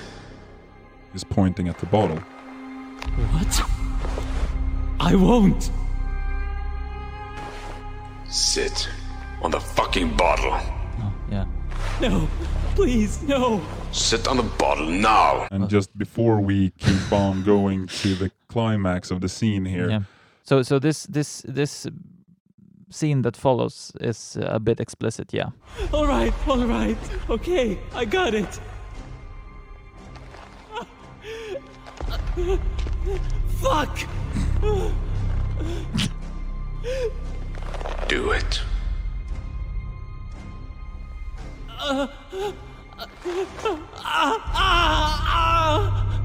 [SPEAKER 3] He's pointing at the bottle.
[SPEAKER 6] What? I won't!
[SPEAKER 7] Sit on the fucking bottle.
[SPEAKER 2] yeah.
[SPEAKER 6] No! Please, no!
[SPEAKER 7] Sit on the bottle now.
[SPEAKER 2] Uh.
[SPEAKER 3] And just before we keep on going to the climax of the scene here,
[SPEAKER 2] Yeah. So so this this this scene that follows is a bit explicit. Yeah.
[SPEAKER 6] Alright, alright! Okay, I got it! Fuck!
[SPEAKER 7] Do it.
[SPEAKER 6] Ah!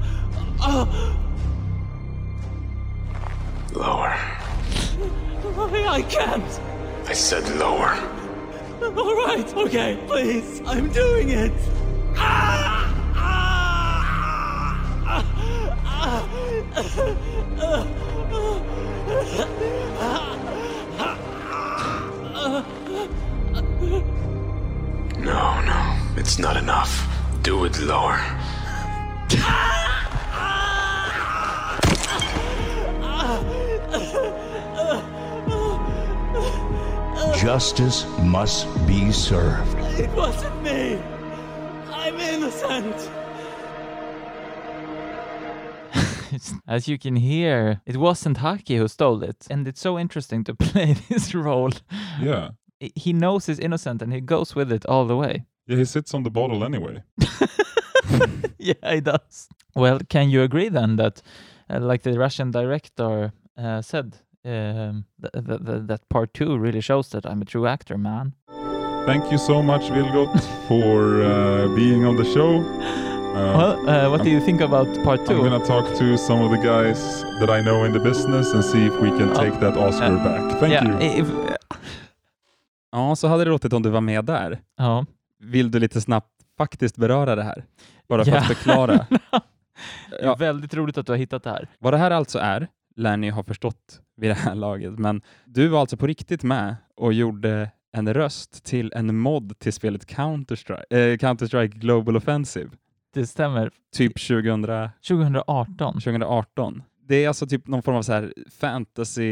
[SPEAKER 7] Lower.
[SPEAKER 6] I, I can't!
[SPEAKER 7] I said lower.
[SPEAKER 6] All right, okay, please. I'm doing it. Ah! Ah! Ah! Ah!
[SPEAKER 7] No, no, it's not enough. Do it lower.
[SPEAKER 9] Justice must be served.
[SPEAKER 6] It wasn't me. I'm innocent.
[SPEAKER 2] As you can hear, it wasn't Haki who stole it, and it's so interesting to play this role.
[SPEAKER 3] Yeah.
[SPEAKER 2] I- He knows he's innocent and he goes with it all the way.
[SPEAKER 3] Yeah, he sits on the bottle anyway.
[SPEAKER 2] yeah, he does. Well, can you agree then that, uh, like the Russian director uh, said, um, th- th- th- that part two really shows that I'm a true actor, man?
[SPEAKER 3] Thank you so much, Vilgot, for uh, being on the show. Uh,
[SPEAKER 2] Well, uh, what do you think about part
[SPEAKER 3] I'm
[SPEAKER 2] two?
[SPEAKER 3] gonna talk to some of the guys that I know in the business and see if we can take that Oscar
[SPEAKER 2] uh,
[SPEAKER 3] back. Thank you.
[SPEAKER 2] yeah, if-
[SPEAKER 1] Ja, så hade det låtit om du var med där.
[SPEAKER 2] ja.
[SPEAKER 1] Vill du lite snabbt faktiskt beröra det här? Bara för
[SPEAKER 2] Ja.
[SPEAKER 1] att förklara. Ja.
[SPEAKER 2] Väldigt roligt att du har hittat det här.
[SPEAKER 1] Vad det här alltså är lär ni ha förstått vid det här laget, men du var alltså på riktigt med och gjorde en röst till en mod till spelet Counter-Strike, eh, Counter-Strike Global Offensive,
[SPEAKER 2] Det stämmer.
[SPEAKER 1] typ
[SPEAKER 2] Mm.
[SPEAKER 1] 2000,
[SPEAKER 2] 2018.
[SPEAKER 1] 2018. Det är alltså typ någon form av så här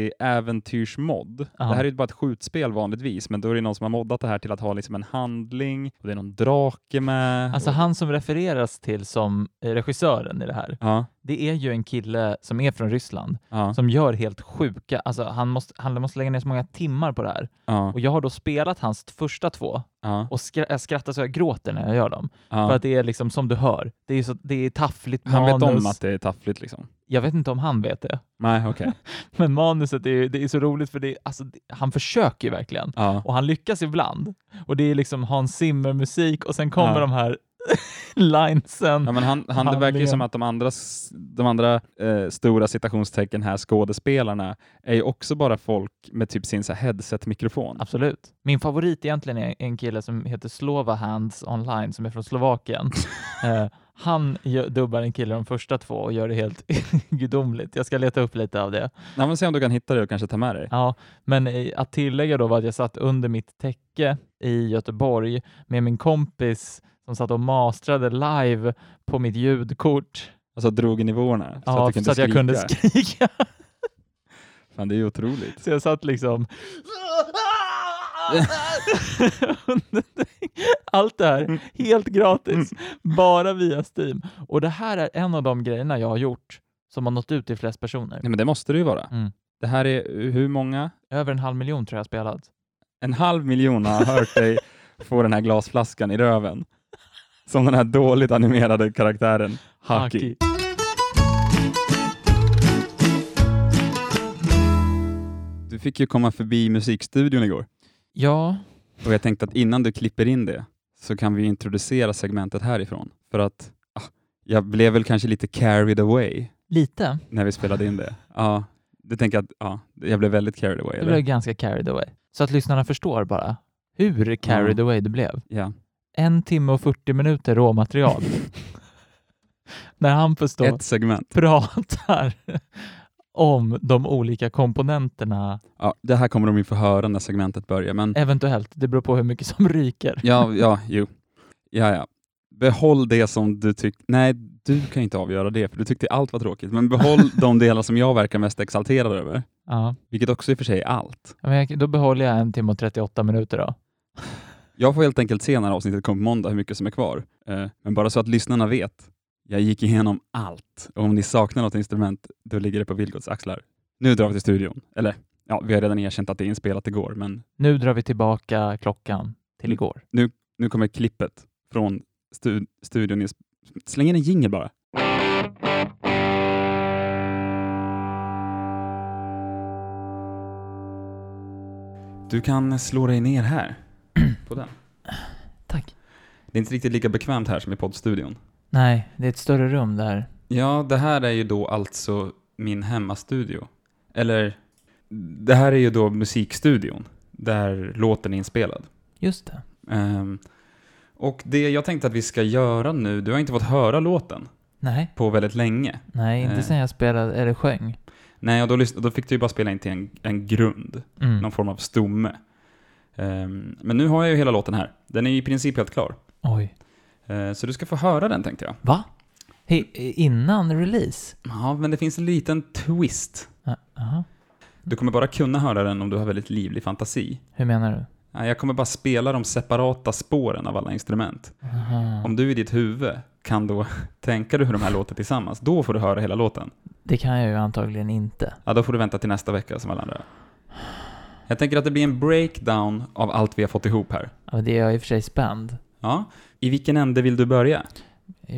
[SPEAKER 1] fantasy-äventyrsmod.
[SPEAKER 2] Ja.
[SPEAKER 1] Det här är ju bara ett skjutspel vanligtvis, men då är det någon som har moddat det här till att ha liksom en handling, och det är någon drake med.
[SPEAKER 2] Alltså han som refereras till som eh, regissören i det här,
[SPEAKER 1] Ja,
[SPEAKER 2] det är ju en kille som är från Ryssland
[SPEAKER 1] ja,
[SPEAKER 2] som gör helt sjuka, alltså han måste, han måste lägga ner så många timmar på det här.
[SPEAKER 1] ja,
[SPEAKER 2] Och jag har då spelat hans första två
[SPEAKER 1] ja,
[SPEAKER 2] och skra- jag skrattar så jag gråter när jag gör dem. För
[SPEAKER 1] ja.
[SPEAKER 2] att det är liksom som du hör, det är, så, det är taffligt
[SPEAKER 1] Han vet
[SPEAKER 2] manus.
[SPEAKER 1] om att det är taffligt liksom.
[SPEAKER 2] Jag vet inte om han vet det,
[SPEAKER 1] Nej, okej.
[SPEAKER 2] men manuset är, ju- det är så roligt för det, är- alltså, det- han försöker ju verkligen.
[SPEAKER 1] Ja.
[SPEAKER 2] Och han lyckas ibland. Och det är liksom Hans Zimmer-musik och sen kommer
[SPEAKER 1] Ja.
[SPEAKER 2] de här linesen.
[SPEAKER 1] Ja, men han, han, det verkar ju
[SPEAKER 2] Handlingen.
[SPEAKER 1] som att de andra, s- de andra eh, stora citationstecken här, skådespelarna, är ju också bara folk med typ sin så här headset-mikrofon.
[SPEAKER 2] Absolut. Min favorit egentligen är en kille som heter Slova Hands Online som är från Slovakien. eh, han gö- dubbar en kille de första två och gör det helt gudomligt. Jag ska leta upp lite av det.
[SPEAKER 1] Nej, men se om du kan hitta det och kanske ta med dig.
[SPEAKER 2] Ja, men eh, att tillägga då var att jag satt under mitt täcke i Göteborg med min kompis som satt och mastrade live på mitt ljudkort
[SPEAKER 1] Alltså drog i nivåerna. Så att
[SPEAKER 2] ja,
[SPEAKER 1] du kunde
[SPEAKER 2] så att jag kunde
[SPEAKER 1] skrika.
[SPEAKER 2] skrika.
[SPEAKER 1] Fan, det är ju otroligt.
[SPEAKER 2] Så jag satt liksom... Allt det här helt gratis, bara via Steam. Och det här är en av de grejerna jag har gjort som har nått ut till flest personer.
[SPEAKER 1] Nej, men det måste det ju vara.
[SPEAKER 2] Mm.
[SPEAKER 1] Det här är eh, hur många?
[SPEAKER 2] Över en halv miljon tror jag har spelat.
[SPEAKER 1] En halv miljon har hört dig få den här glasflaskan i röven. Som den här dåligt animerade karaktären Haki.
[SPEAKER 2] Haki.
[SPEAKER 1] Du fick ju komma förbi musikstudion igår.
[SPEAKER 2] Ja,
[SPEAKER 1] Och jag tänkte att innan du klipper in det så kan vi introducera segmentet härifrån. För att ah, jag blev väl kanske lite carried away
[SPEAKER 2] lite.
[SPEAKER 1] när vi spelade in det. Ja, du tänker att ja, jag blev väldigt carried away?
[SPEAKER 2] Det blev
[SPEAKER 1] Eller?
[SPEAKER 2] ganska carried away. Så att lyssnarna förstår bara hur carried
[SPEAKER 1] Ja.
[SPEAKER 2] away det blev.
[SPEAKER 1] Ja.
[SPEAKER 2] En timme och 40 minuter råmaterial. När Hampus då...
[SPEAKER 1] Ett segment.
[SPEAKER 2] pratar om de olika komponenterna,
[SPEAKER 1] Ja, det här kommer de ju få höra när segmentet börjar, men
[SPEAKER 2] eventuellt. Det beror på hur mycket som ryker.
[SPEAKER 1] ja, ja, jo. Ja, ja. Behåll det som du tyckte... Nej, du kan inte avgöra det, för du tyckte allt var tråkigt. Men behåll de delar som jag verkar mest exalterad över,
[SPEAKER 2] Ja.
[SPEAKER 1] vilket också i och för sig är allt.
[SPEAKER 2] Men jag, då behåller jag en timme och 38 minuter då.
[SPEAKER 1] Jag får helt enkelt se när avsnittet kommer på måndag hur mycket som är kvar. Eh, Men bara så att lyssnarna vet, jag gick igenom allt. Och om ni saknar något instrument, då ligger det på Vilgots axlar. Nu drar vi till studion. Eller, ja, vi har redan erkänt att det är inspelat igår, men
[SPEAKER 2] Nu drar vi tillbaka klockan till
[SPEAKER 1] Mm.
[SPEAKER 2] igår.
[SPEAKER 1] nu kommer klippet från stu- studion. ins- Släng in en jingel bara. Du kan slå dig ner här. På den.
[SPEAKER 2] Tack.
[SPEAKER 1] Det är inte riktigt lika bekvämt här som i poddstudion.
[SPEAKER 2] Nej, det är ett större rum där.
[SPEAKER 1] Ja, det här är ju då alltså min hemmastudio. Eller, det här är ju då musikstudion, där låten är inspelad.
[SPEAKER 2] Just det.
[SPEAKER 1] Ehm, och det jag tänkte att vi ska göra nu, du har inte fått höra låten
[SPEAKER 2] Nej,
[SPEAKER 1] på väldigt länge.
[SPEAKER 2] nej, inte
[SPEAKER 1] Eh.
[SPEAKER 2] sen jag spelade, eller sjöng.
[SPEAKER 1] Nej, och då, lys- då fick du ju bara spela in till en, en grund,
[SPEAKER 2] Mm.
[SPEAKER 1] någon form av stomme. Ehm, men nu har jag ju hela låten här. Den är ju i princip helt klar.
[SPEAKER 2] Oj.
[SPEAKER 1] Eh, så du ska få höra den tänkte jag.
[SPEAKER 2] Va? He, innan release?
[SPEAKER 1] Ja, men det finns en liten twist.
[SPEAKER 2] Ja, Aha.
[SPEAKER 1] Du kommer bara kunna höra den om du har väldigt livlig fantasi.
[SPEAKER 2] Hur menar du?
[SPEAKER 1] Nej, Jag kommer bara spela de separata spåren av alla instrument. Om du i ditt huvud kan då tänka dig hur de här låter tillsammans, då får du höra hela låten.
[SPEAKER 2] Det kan jag ju antagligen inte.
[SPEAKER 1] Ja, då får du vänta till nästa vecka som alla andra. Jag tänker att det blir en breakdown av allt vi har fått ihop här.
[SPEAKER 2] Ja, men Det är jag i och för sig spänd.
[SPEAKER 1] Ja, i vilken ände vill du börja?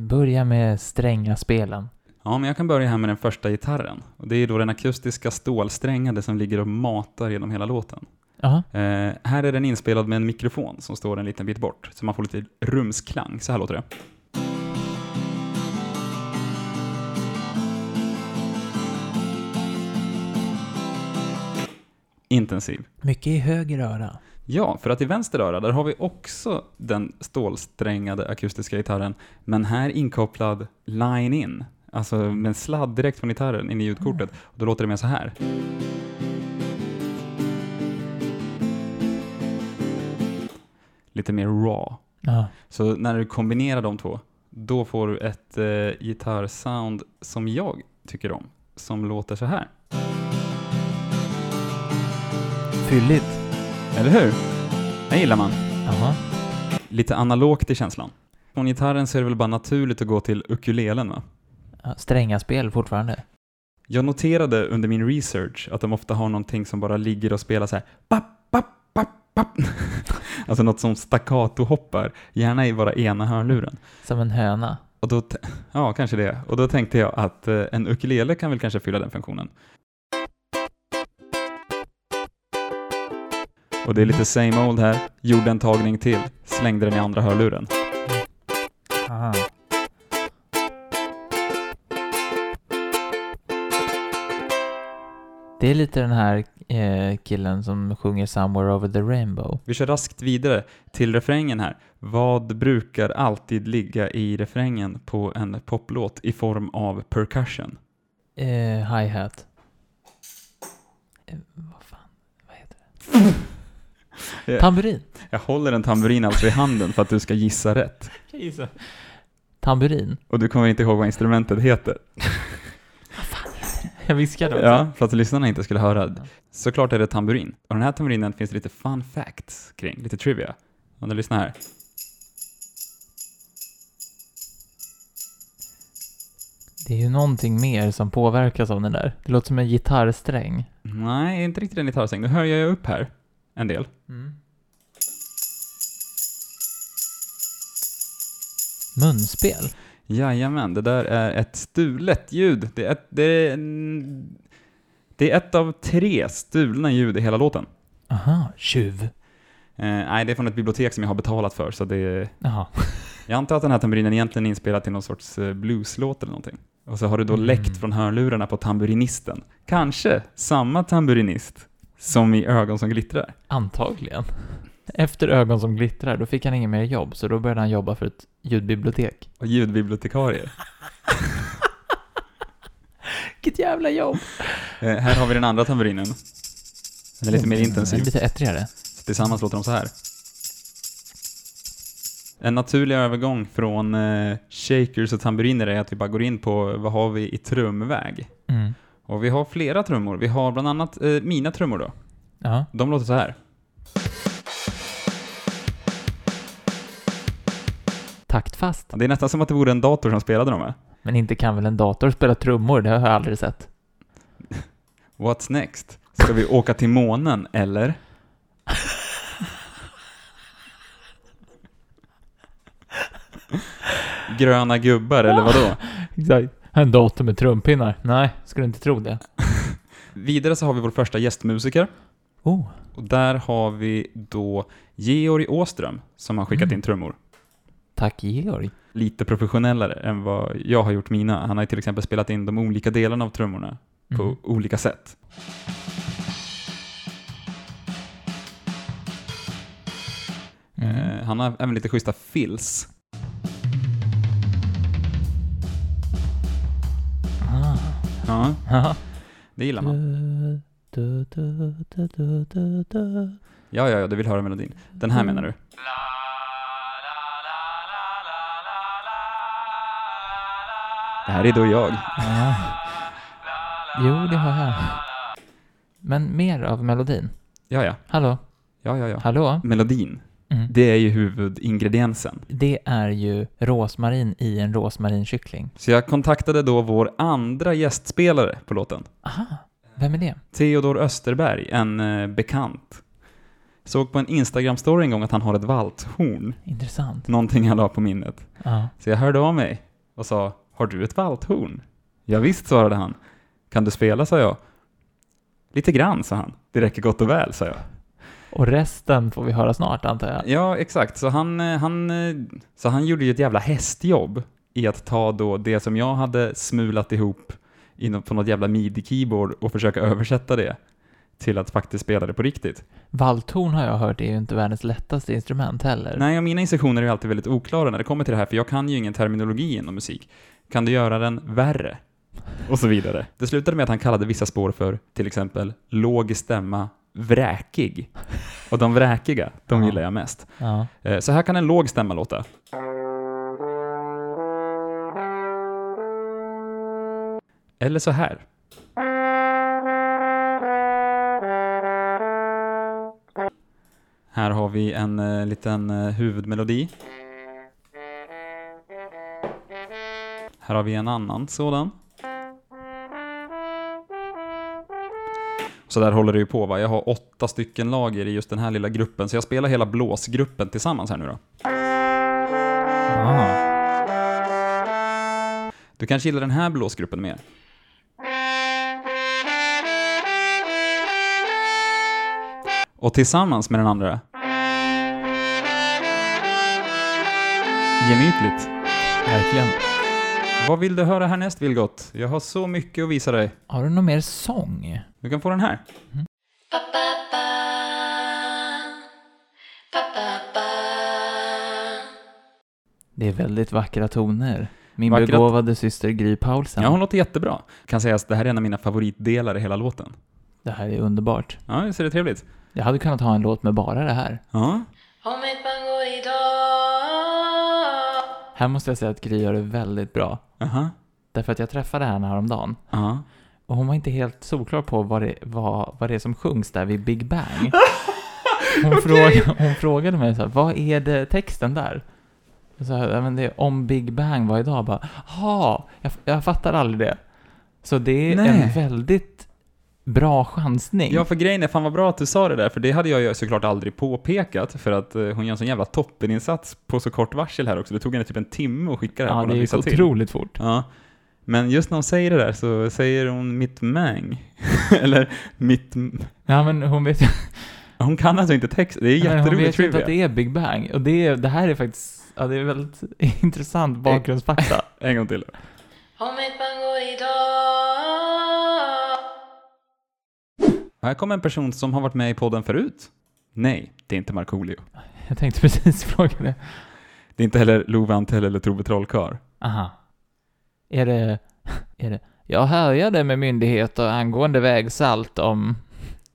[SPEAKER 2] Börja med stränga spelen.
[SPEAKER 1] Ja, men jag kan börja här med den första gitarren. Och det är då den akustiska stålsträngade som ligger och matar genom hela låten.
[SPEAKER 2] Ja,
[SPEAKER 1] Eh, här är den inspelad med en mikrofon som står en liten bit bort, så man får lite rumsklang. Så här låter det. Intensiv.
[SPEAKER 2] mycket i höger öra.
[SPEAKER 1] Ja, för att i vänster öra, där har vi också den stålsträngade akustiska gitarren, men här inkopplad line-in, alltså med en sladd direkt från gitarren in i ljudkortet. Då låter det mer så här. Lite mer raw.
[SPEAKER 2] Ja.
[SPEAKER 1] Så när du kombinerar de två, då får du ett eh, gitarrsound som jag tycker om, som låter så här.
[SPEAKER 2] Fylligt.
[SPEAKER 1] Eller hur? Det gillar man.
[SPEAKER 2] Ja.
[SPEAKER 1] lite analogt i känslan. Från gitarren så är det väl bara naturligt att gå till ukulelen va?
[SPEAKER 2] Ja, Stränga spel fortfarande.
[SPEAKER 1] Jag noterade under min research att de ofta har någonting som bara ligger och spelar så här. Papp, papp, papp, papp. alltså något som staccato-hoppar, gärna i bara ena hörluren.
[SPEAKER 2] Som en höna.
[SPEAKER 1] Och då, t- ja, kanske det. Och då tänkte jag att eh, en ukulele kan väl kanske fylla den funktionen. Och det är lite same old här. Gjorde en tagning till, slängde den i andra hörluren.
[SPEAKER 2] Aha. Det är lite den här eh, killen som sjunger Somewhere Over the Rainbow.
[SPEAKER 1] Vi kör raskt vidare till refrängen här. Vad brukar alltid ligga i refrängen på en poplåt i form av percussion?
[SPEAKER 2] Eh, hi-hat. Eh, vad fan, vad heter det?
[SPEAKER 1] Ja.
[SPEAKER 2] Tamburin.
[SPEAKER 1] Jag håller en tamburin alltså i handen för att du ska gissa rätt.
[SPEAKER 2] Tamburin.
[SPEAKER 1] Och du kommer inte ihåg vad instrumentet heter.
[SPEAKER 2] Jag viskade också.
[SPEAKER 1] Ja, för att lyssnarna inte skulle höra. Såklart är det tamburin. Och den här tamburinen finns det lite fun facts kring, lite trivia. Om du lyssnar här.
[SPEAKER 2] Det är ju någonting mer som påverkas av den där. Det låter som en gitarrsträng.
[SPEAKER 1] Nej, inte riktigt en gitarrsäng. Nu höjer jag upp här en del.
[SPEAKER 2] Mm. Munspel.
[SPEAKER 1] Jajamän, det där är ett stulet ljud. Det är ett, det är, en- det är ett av tre stulna ljud i hela låten.
[SPEAKER 2] Aha, tjuv.
[SPEAKER 1] Eh, nej, det är från ett bibliotek som jag har betalat för, så det,
[SPEAKER 2] Jaha.
[SPEAKER 1] jag antar att den här tamburinen egentligen är inspelad till någon sorts eh, blueslåt eller någonting. Och så har det då läckt från hörlurarna på tamburinisten. Kanske samma tamburinist som i Ögon som glittrar.
[SPEAKER 2] Antagligen. Efter ögon som glittrar, då fick han inget mer jobb, så då började han jobba för ett ljudbibliotek.
[SPEAKER 1] Och ljudbibliotekarier.
[SPEAKER 2] Vilket jävla jobb!
[SPEAKER 1] Eh, här har vi den andra tamburinen. Den är lite mer intensiv.
[SPEAKER 2] Mm. Lite ettrigare.
[SPEAKER 1] Så tillsammans låter de så här. En naturlig övergång från eh, shakers och tamburiner är att vi bara går in på vad har vi i trumväg.
[SPEAKER 2] Mm.
[SPEAKER 1] Och vi har flera trummor. Vi har bland annat eh, mina trummor då.
[SPEAKER 2] Ja.
[SPEAKER 1] De låter så här.
[SPEAKER 2] Taktfast.
[SPEAKER 1] Det är nästan som att det vore en dator som spelade dem. va?
[SPEAKER 2] Men inte kan väl en dator spela trummor? Det har jag aldrig sett.
[SPEAKER 1] What's next? Ska vi åka till månen, eller? Gröna gubbar, eller vadå?
[SPEAKER 2] Exakt. En dator med trumpinnar? Nej, skulle inte tro det.
[SPEAKER 1] Vidare så har vi vår första gästmusiker.
[SPEAKER 2] Oh,
[SPEAKER 1] Och där har vi då Georg Åström som har skickat in trummor.
[SPEAKER 2] tack Georg.
[SPEAKER 1] Lite professionellare än vad jag har gjort mina. Han har ju till exempel spelat in de olika delarna av trummorna på
[SPEAKER 2] Mhm.
[SPEAKER 1] olika sätt. Eh, Han har även lite schyssta fills. Ja,
[SPEAKER 2] Ja.
[SPEAKER 1] det gillar man.
[SPEAKER 2] Du, du, du, du, du, du.
[SPEAKER 1] Ja, ja, ja, du vill höra melodin. Den här menar du? Det här är då jag.
[SPEAKER 2] Jo, det har jag. Men mer av melodin.
[SPEAKER 1] Ja, ja,
[SPEAKER 2] Hallå?
[SPEAKER 1] ja, ja, ja.
[SPEAKER 2] Hallå?
[SPEAKER 1] Melodin,
[SPEAKER 2] Mm.
[SPEAKER 1] det är ju huvudingrediensen.
[SPEAKER 2] Det är ju rosmarin i en rosmarinkyckling.
[SPEAKER 1] Så jag kontaktade då vår andra gästspelare på låten.
[SPEAKER 2] Aha, vem är det?
[SPEAKER 1] Theodor Österberg, en eh, bekant. Såg på en Instagram-story en gång att han har ett valthorn.
[SPEAKER 2] Intressant.
[SPEAKER 1] Någonting han la på minnet.
[SPEAKER 2] Ja.
[SPEAKER 1] Så jag hörde av mig och sa ”Har du ett valthorn?” ”Ja, visst svarade han. ”Kan du spela?” sa jag. ”Lite grann”, sa han. ”Det räcker gott och väl”, sa jag.
[SPEAKER 2] Och resten får vi höra snart, antar jag.
[SPEAKER 1] Ja, exakt. Så han, eh, han, eh, så han gjorde ju ett jävla hästjobb i att ta då det som jag hade smulat ihop i nå- på något jävla midi-keyboard och försöka översätta det till att faktiskt spela det på riktigt.
[SPEAKER 2] Valthorn har jag hört är ju inte världens lättaste instrument heller.
[SPEAKER 1] Nej, och mina instruktioner är ju alltid väldigt oklara när det kommer till det här, för jag kan ju ingen terminologi inom musik. Kan du göra den värre? Och så vidare. Det slutade med att han kallade vissa spår för till exempel låg stämma vräkig. Och de vräkiga, de
[SPEAKER 2] Ja.
[SPEAKER 1] gillar jag mest.
[SPEAKER 2] Ja.
[SPEAKER 1] Eh, Så här kan en låg stämma låta. Eller så här. Här har vi en eh, liten eh, huvudmelodi. Här har vi en annan sådan. Så där håller det ju på va. Jag har åtta stycken lager i just den här lilla gruppen, så jag spelar hela blåsgruppen tillsammans här nu då.
[SPEAKER 2] Ah.
[SPEAKER 1] Du kanske gillar den här blåsgruppen mer? Och tillsammans med den andra... Gemytligt.
[SPEAKER 2] Verkligen.
[SPEAKER 1] Vad vill du höra härnäst, Vilgot? Jag har så mycket att visa dig.
[SPEAKER 2] Har du någon mer sång?
[SPEAKER 1] Du kan få den här.
[SPEAKER 2] Det är väldigt vackra toner. Min
[SPEAKER 1] Vackra-
[SPEAKER 2] begåvade syster Gry Paulsen.
[SPEAKER 1] Ja, hon låter jättebra. Kan sägas, det här är en av mina favoritdelar i hela låten.
[SPEAKER 2] Det här är underbart.
[SPEAKER 1] Ja, visst är det trevligt?
[SPEAKER 2] Jag hade kunnat ha en låt med bara det här.
[SPEAKER 1] Ja.
[SPEAKER 2] Här måste jag säga att Gry gör det väldigt bra.
[SPEAKER 1] Aha.
[SPEAKER 2] Därför att jag träffade henne häromdagen.
[SPEAKER 1] Ja.
[SPEAKER 2] Och hon var inte helt solklar på vad det, vad, vad det är som sjungs där vid Big Bang. Hon, frågade, hon frågade mig så här, vad är det texten där? Och så här, "Ja, men det är om Big Bang var idag. Bara, ha, jag, jag fattar aldrig det. Så det är
[SPEAKER 1] Nej.
[SPEAKER 2] en väldigt bra chansning.
[SPEAKER 1] Ja, för grejen är, fan vad bra att du sa det där, för det hade jag ju såklart aldrig påpekat, för att eh, hon gör en sån jävla toppeninsats på så kort varsel här också. Det tog henne typ en timme att skicka det här
[SPEAKER 2] ja
[SPEAKER 1] på
[SPEAKER 2] det
[SPEAKER 1] något
[SPEAKER 2] är
[SPEAKER 1] vissa
[SPEAKER 2] så
[SPEAKER 1] till.
[SPEAKER 2] otroligt fort.
[SPEAKER 1] Ja. Men just när hon säger det där så säger hon mitt mäng. Eller mitt... m-
[SPEAKER 2] Ja, men hon vet ju
[SPEAKER 1] Hon kan alltså inte text. Det är
[SPEAKER 2] Nej, men Hon
[SPEAKER 1] jätteroligt
[SPEAKER 2] vet ju inte
[SPEAKER 1] trivia.
[SPEAKER 2] att det är Big Bang. Och det, är, det här är faktiskt, ja det är väldigt intressant bakgrundsfakta.
[SPEAKER 1] En gång till. Här kommer en person som har varit med i podden förut. Nej, det är inte Markoolio.
[SPEAKER 2] Jag tänkte precis fråga det.
[SPEAKER 1] Det är inte heller Love Antell eller Tove Trollkarl.
[SPEAKER 2] Aha. Är det, är det, jag härjade med myndigheter angående vägsalt om,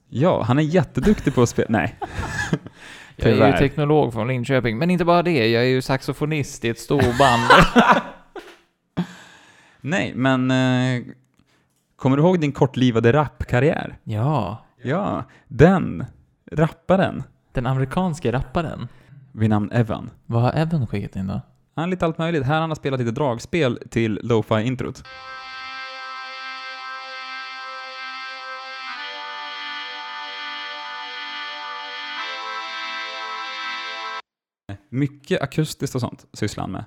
[SPEAKER 1] Ja, han är jätteduktig på att spela... Nej.
[SPEAKER 2] jag är ju
[SPEAKER 1] Tyvärr.
[SPEAKER 2] teknolog från Linköping, men inte bara det, jag är ju saxofonist i ett storband.
[SPEAKER 1] Nej, men... Eh, kommer du ihåg din kortlivade rappkarriär?
[SPEAKER 2] ja,
[SPEAKER 1] Ja, den rapparen
[SPEAKER 2] den amerikanske rapparen.
[SPEAKER 1] vid namn Evan.
[SPEAKER 2] Vad har Evan skickat in då?
[SPEAKER 1] Han har lite allt möjligt. Här har han har spelat lite dragspel till lo-fi introt. Mycket akustiskt och sånt sysslar han med.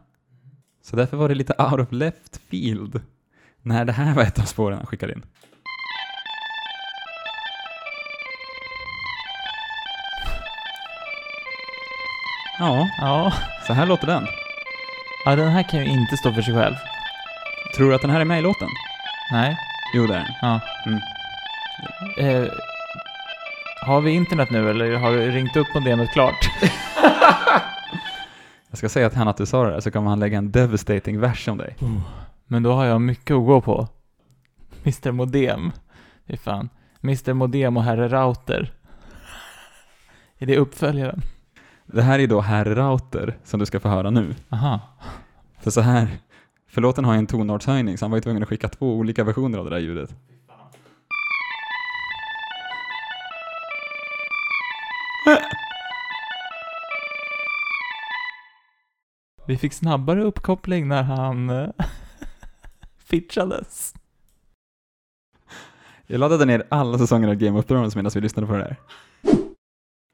[SPEAKER 1] Så därför var det lite out of left field när det här var ett av spåren han skickade in. Ja,
[SPEAKER 2] Ja.
[SPEAKER 1] så här låter den.
[SPEAKER 2] ja, den här kan ju inte stå för sig själv.
[SPEAKER 1] Tror du att den här är med i låten?
[SPEAKER 2] Nej.
[SPEAKER 1] Jo, det är den.
[SPEAKER 2] Ja.
[SPEAKER 1] Mm.
[SPEAKER 2] Eh, har vi internet nu eller har du ringt upp modemet klart?
[SPEAKER 1] Jag ska säga till han att du sa det där, så kommer han lägga en devastating vers om dig.
[SPEAKER 2] Men då har jag mycket att gå på. Mr Modem. Fy fan. Mr Modem och Herre Router. Är det uppföljaren?
[SPEAKER 1] Det här är då herr Rauter som du ska få höra nu.
[SPEAKER 2] Aha.
[SPEAKER 1] För så här, för låten har ju en tonartshöjning så han var ju tvungen att skicka två olika versioner av det där ljudet.
[SPEAKER 2] Vi fick snabbare uppkoppling när han eh, fitchades.
[SPEAKER 1] Jag laddade ner alla säsonger av Game of Thrones medan vi lyssnade på det där.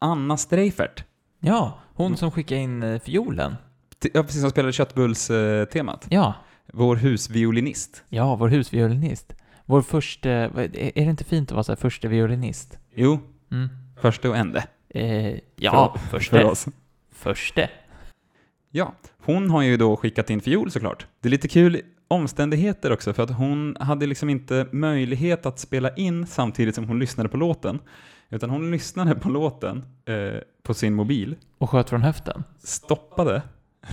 [SPEAKER 1] Anna Streifert,
[SPEAKER 2] Ja, hon som skickade in eh, fiolen.
[SPEAKER 1] t- ja, precis som spelade köttbullstemat.
[SPEAKER 2] Ja,
[SPEAKER 1] Vår husviolinist.
[SPEAKER 2] ja, vår husviolinist. Vår första, vad- är är det inte fint att vara så här första violinist?
[SPEAKER 1] Jo,
[SPEAKER 2] Mm.
[SPEAKER 1] första och ende.
[SPEAKER 2] Eh, ja,
[SPEAKER 1] För
[SPEAKER 2] första.
[SPEAKER 1] oss.
[SPEAKER 2] Första.
[SPEAKER 1] Ja, hon har ju då skickat in fiol såklart. Det är lite kul omständigheter också för att hon hade liksom inte möjlighet att spela in samtidigt som hon lyssnade på låten. Utan hon lyssnade på låten eh, på sin mobil,
[SPEAKER 2] Och sköt från höften.
[SPEAKER 1] stoppade,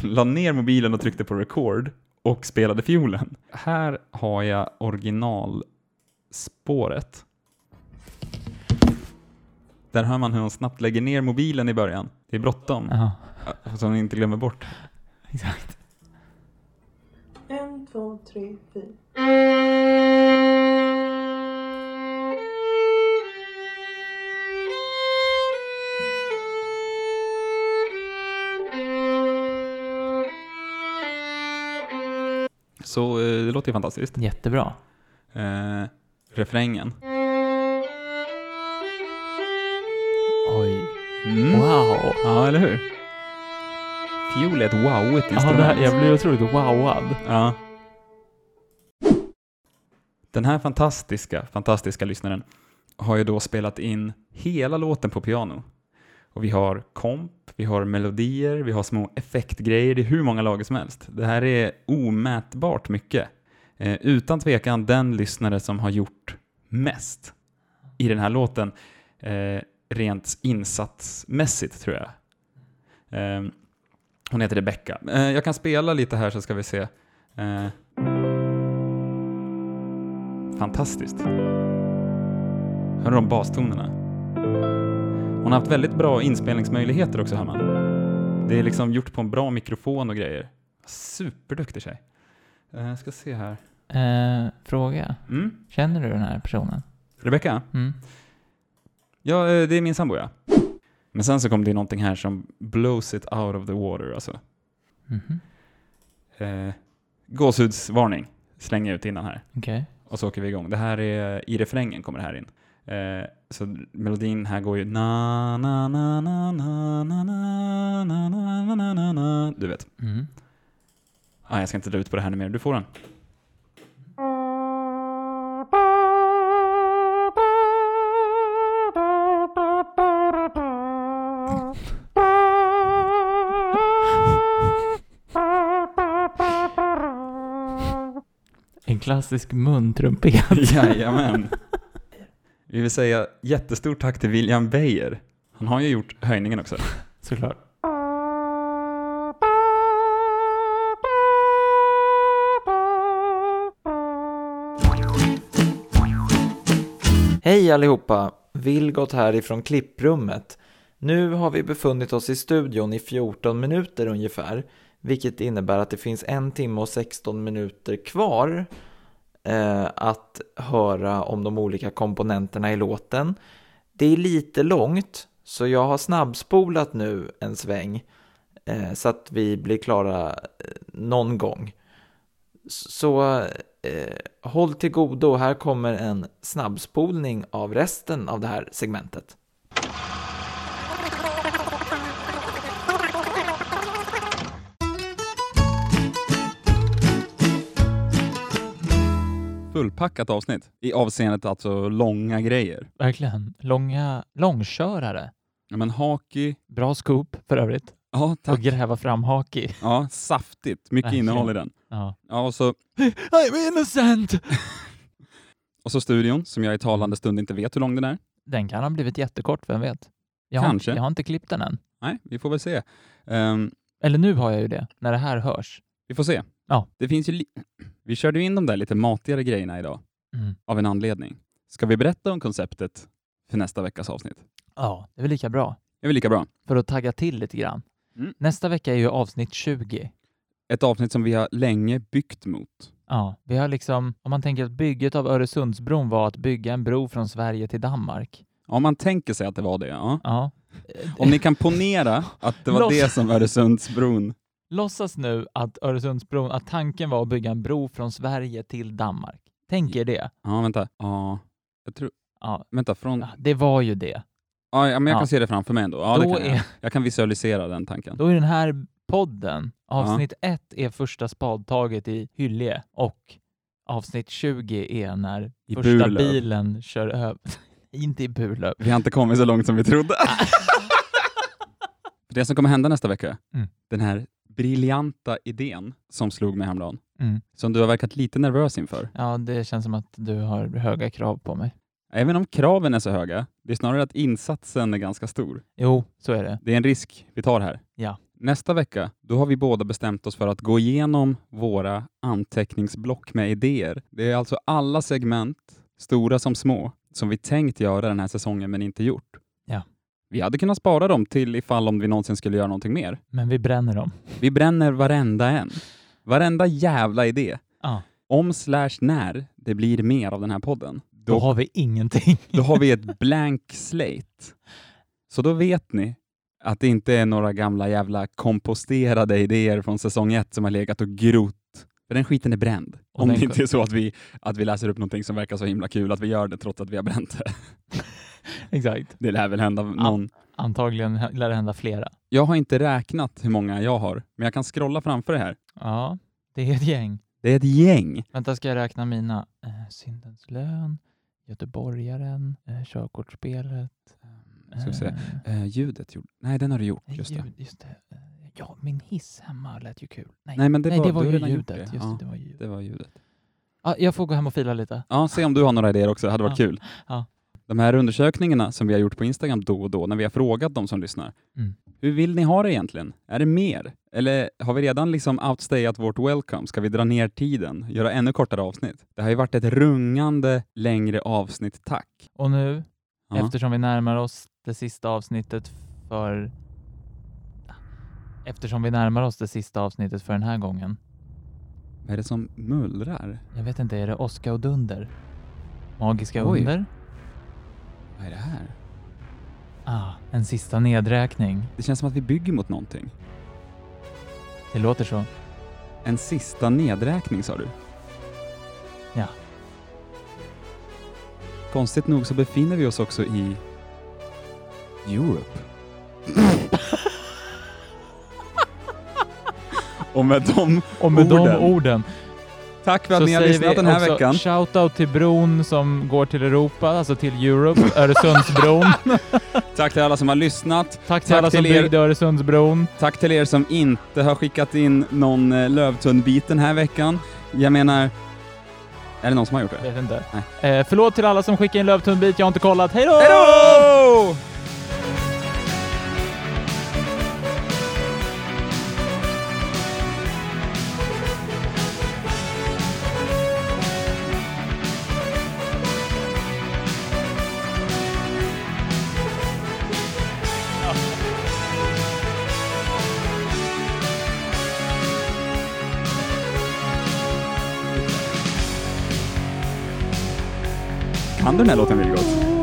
[SPEAKER 1] la ner mobilen och tryckte på record och spelade fiolen. Här har jag originalspåret. Där hör man hur hon snabbt lägger ner mobilen i början. Det är bråttom,
[SPEAKER 2] Ja,
[SPEAKER 1] så hon inte glömmer bort.
[SPEAKER 2] exakt.
[SPEAKER 10] En, två, tre, fyra.
[SPEAKER 1] Så eh, det låter ju fantastiskt.
[SPEAKER 2] Jättebra.
[SPEAKER 1] Eh, refrängen.
[SPEAKER 2] Oj.
[SPEAKER 1] Mm.
[SPEAKER 2] Wow.
[SPEAKER 1] Ja, eller hur? Fiol är ett wowigt
[SPEAKER 2] Ja,
[SPEAKER 1] instrument.
[SPEAKER 2] det här, jag blir otroligt wowad.
[SPEAKER 1] Ja. Den här fantastiska, fantastiska lyssnaren har ju då spelat in hela låten på piano. Och vi har komp, vi har melodier, vi har små effektgrejer, det är hur många lager som helst. Det här är omätbart mycket. Eh, utan tvekan den lyssnare som har gjort mest i den här låten, eh, rent insatsmässigt tror jag. Ehm, hon heter Rebecca. Eh, jag kan spela lite här så ska vi se. Eh. Fantastiskt. Hör de bastonerna? Hon har haft väldigt bra inspelningsmöjligheter också, hör man. Det är liksom gjort på en bra mikrofon och grejer. Superduktig tjej. Eh, ska se här.
[SPEAKER 2] Eh, fråga.
[SPEAKER 1] Mm.
[SPEAKER 2] Känner du den här personen?
[SPEAKER 1] Rebecca?
[SPEAKER 2] Mm.
[SPEAKER 1] Ja, eh, det är min sambo, ja. Men sen så kom det någonting här som blows it out of the water, alltså.
[SPEAKER 2] Mhm.
[SPEAKER 1] Eh, gåshudsvarning slänger jag ut innan här.
[SPEAKER 2] Okej.
[SPEAKER 1] Och så åker vi igång. Det här är, i refrängen kommer det här in. Eh, så melodin här går ju na na na na na na na na na na na na na Du vet.
[SPEAKER 2] Mm.
[SPEAKER 1] Ah, jag ska inte dra ut på det här nu mer. Du får den.
[SPEAKER 2] En klassisk muntrumpet.
[SPEAKER 1] Jajamän. Vi vill säga jättestort tack till William Beijer. Han har ju gjort höjningen också.
[SPEAKER 2] Såklart.
[SPEAKER 6] Hej allihopa! Vilgot här ifrån klipprummet. Nu har vi befunnit oss i studion i 14 minuter ungefär, vilket innebär att det finns en timme och 16 minuter kvar eh, att höra om de olika komponenterna i låten. Det är lite långt, så jag har snabbspolat nu en sväng eh, så att vi blir klara eh, någon gång. Så eh, håll till godo, här kommer en snabbspolning av resten av det här segmentet.
[SPEAKER 1] Fullpackat avsnitt. I avseendet alltså långa grejer.
[SPEAKER 2] Verkligen. Långa, långkörare.
[SPEAKER 1] Ja, men hockey.
[SPEAKER 2] Bra scoop för övrigt.
[SPEAKER 1] Ja,
[SPEAKER 2] Och
[SPEAKER 1] tack.
[SPEAKER 2] gräva fram haki.
[SPEAKER 1] Ja, saftigt. Mycket
[SPEAKER 2] Verkligen.
[SPEAKER 1] innehåll i den.
[SPEAKER 2] Ja.
[SPEAKER 1] Ja, och så
[SPEAKER 2] I'm innocent!
[SPEAKER 1] Och så studion, som jag i talande stund inte vet hur lång den är.
[SPEAKER 2] Den kan ha blivit jättekort, vem vet? Jag har,
[SPEAKER 1] Kanske.
[SPEAKER 2] Jag har inte klippt den än.
[SPEAKER 1] Nej, vi får väl se. Ehm,
[SPEAKER 2] Eller nu har jag ju det, när det här hörs.
[SPEAKER 1] Vi får se.
[SPEAKER 2] Ja.
[SPEAKER 1] Det finns ju li- vi körde ju in de där lite matigare grejerna idag,
[SPEAKER 2] Mm.
[SPEAKER 1] av en anledning. Ska vi berätta om konceptet för nästa veckas avsnitt?
[SPEAKER 2] Ja, det är väl lika bra.
[SPEAKER 1] Det är väl lika bra.
[SPEAKER 2] För att tagga till lite grann.
[SPEAKER 1] Mm.
[SPEAKER 2] Nästa vecka är ju avsnitt 20.
[SPEAKER 1] Ett avsnitt som vi har länge byggt mot.
[SPEAKER 2] Ja, vi har liksom, om man tänker att bygget av Öresundsbron var att bygga en bro från Sverige till Danmark. Eh,
[SPEAKER 1] Om man tänker sig att det var det, ja.
[SPEAKER 2] Ja.
[SPEAKER 1] Om ni kan ponera att det var
[SPEAKER 2] Låts-
[SPEAKER 1] det som Öresundsbron...
[SPEAKER 2] eh, Låtsas nu att Öresundsbron, att tanken var att bygga en bro från Sverige till Danmark. Tänk er det.
[SPEAKER 1] Ja, vänta. Ja, jag tror...
[SPEAKER 2] Ja.
[SPEAKER 1] Vänta, från...
[SPEAKER 2] Ja, Det var ju det.
[SPEAKER 1] Ja, ja, men jag
[SPEAKER 2] Ja.
[SPEAKER 1] kan se det framför mig ändå. Ja, det
[SPEAKER 2] Då
[SPEAKER 1] kan jag.
[SPEAKER 2] är-
[SPEAKER 1] jag kan visualisera den tanken.
[SPEAKER 2] Då är den här podden, avsnitt 1 är första spadtaget i Hyllie och avsnitt 20 är när
[SPEAKER 1] I
[SPEAKER 2] första
[SPEAKER 1] Burlöv.
[SPEAKER 2] bilen kör över... Inte i Burlöv.
[SPEAKER 1] Vi har inte kommit så långt som vi trodde. det som kommer hända nästa vecka,
[SPEAKER 2] Mm.
[SPEAKER 1] den här briljanta idén som slog mig häromdagen,
[SPEAKER 2] Mm.
[SPEAKER 1] som du har verkat lite nervös inför.
[SPEAKER 2] Ja, det känns som att du har höga krav på mig.
[SPEAKER 1] Även om kraven är så höga, det är snarare att insatsen är ganska stor.
[SPEAKER 2] Jo, så är det.
[SPEAKER 1] Det är en risk vi tar här.
[SPEAKER 2] Ja.
[SPEAKER 1] Nästa vecka, då har vi båda bestämt oss för att gå igenom våra anteckningsblock med idéer. Det är alltså alla segment, stora som små, som vi tänkt göra den här säsongen men inte gjort.
[SPEAKER 2] Ja.
[SPEAKER 1] Vi hade kunnat spara dem till ifall om vi någonsin skulle göra någonting mer.
[SPEAKER 2] Men vi bränner dem.
[SPEAKER 1] Vi bränner varenda en. Varenda jävla idé.
[SPEAKER 2] Ja.
[SPEAKER 1] Om slash när det blir mer av den här podden,
[SPEAKER 2] Då
[SPEAKER 1] då,
[SPEAKER 2] har vi ingenting.
[SPEAKER 1] då har vi ett blank slate. Så då vet ni att det inte är några gamla jävla komposterade idéer från säsong ett som har legat och grott. För den skiten är bränd.
[SPEAKER 2] Och
[SPEAKER 1] Om
[SPEAKER 2] den
[SPEAKER 1] det inte är så att vi, att vi läser upp någonting som verkar så himla kul att vi gör det trots att vi har bränt det.
[SPEAKER 2] Exakt.
[SPEAKER 1] Det lär väl hända någon.
[SPEAKER 2] Antagligen hä- lär det hända flera.
[SPEAKER 1] Jag har inte räknat hur många jag har, men jag kan scrolla framför det här.
[SPEAKER 2] Ja, det är ett gäng.
[SPEAKER 1] Det är ett gäng.
[SPEAKER 2] Vänta, ska jag räkna mina? Eh, syndens lön, Göteborgaren, eh, körkortsspelet.
[SPEAKER 1] Ska vi se.
[SPEAKER 2] eh,
[SPEAKER 1] Eh, ljudet gjorde... Nej, den har du gjort.
[SPEAKER 2] nej,
[SPEAKER 1] Just det.
[SPEAKER 2] ljud, Just det. Eh, Ja, min hiss hemma lät ju kul. Nej,
[SPEAKER 1] Nej, men det var-
[SPEAKER 2] det var
[SPEAKER 1] du har
[SPEAKER 2] ju
[SPEAKER 1] redan gjort
[SPEAKER 2] ljudet.
[SPEAKER 1] det.
[SPEAKER 2] Just
[SPEAKER 1] Ja.
[SPEAKER 2] det, det var ju ljudet.
[SPEAKER 1] Det var ljudet.
[SPEAKER 2] Ah, jag får gå hem och fila lite.
[SPEAKER 1] Ja, se om du har några idéer också. Det hade varit
[SPEAKER 2] Ja.
[SPEAKER 1] kul.
[SPEAKER 2] Ja.
[SPEAKER 1] De här undersökningarna som vi har gjort på Instagram då och då, när vi har frågat de som lyssnar.
[SPEAKER 2] Mm.
[SPEAKER 1] Hur vill ni ha det egentligen? Är det mer? Eller har vi redan liksom outstayat vårt welcome? Ska vi dra ner tiden? Göra ännu kortare avsnitt? Det har ju varit ett rungande längre avsnitt, tack.
[SPEAKER 2] Och nu,
[SPEAKER 1] Ja.
[SPEAKER 2] eftersom vi närmar oss det sista avsnittet för... Eftersom vi närmar oss det sista avsnittet för den här gången.
[SPEAKER 1] Vad är det som mullrar?
[SPEAKER 2] Jag vet inte, är det Oskar och Dunder? Magiska
[SPEAKER 1] Oj.
[SPEAKER 2] under?
[SPEAKER 1] Vad är det här?
[SPEAKER 2] Ah, en sista nedräkning.
[SPEAKER 1] Det känns som att vi bygger mot någonting.
[SPEAKER 2] Det låter så.
[SPEAKER 1] En sista nedräkning, sa du?
[SPEAKER 2] Ja.
[SPEAKER 1] Konstigt nog så befinner vi oss också i Europe. Och med dem,
[SPEAKER 2] Och med
[SPEAKER 1] Orden.
[SPEAKER 2] de orden
[SPEAKER 1] tack för att ni har lyssnat den här veckan.
[SPEAKER 2] shoutout till bron som går till Europa, alltså till Europe, Öresundsbron.
[SPEAKER 1] Tack till alla som har lyssnat.
[SPEAKER 2] Tack till
[SPEAKER 1] Tack
[SPEAKER 2] alla som
[SPEAKER 1] till er.
[SPEAKER 2] byggde Öresundsbron.
[SPEAKER 1] Tack till er som inte har skickat in någon eh, lövtunnbit den här veckan. Jag menar, är det någon som har gjort det?
[SPEAKER 2] Vet inte. Eh, förlåt till alla som skickade in lövtunnbit, jag har inte kollat. Hej då!
[SPEAKER 1] Hej då! Kan du den här låten väldigt gott?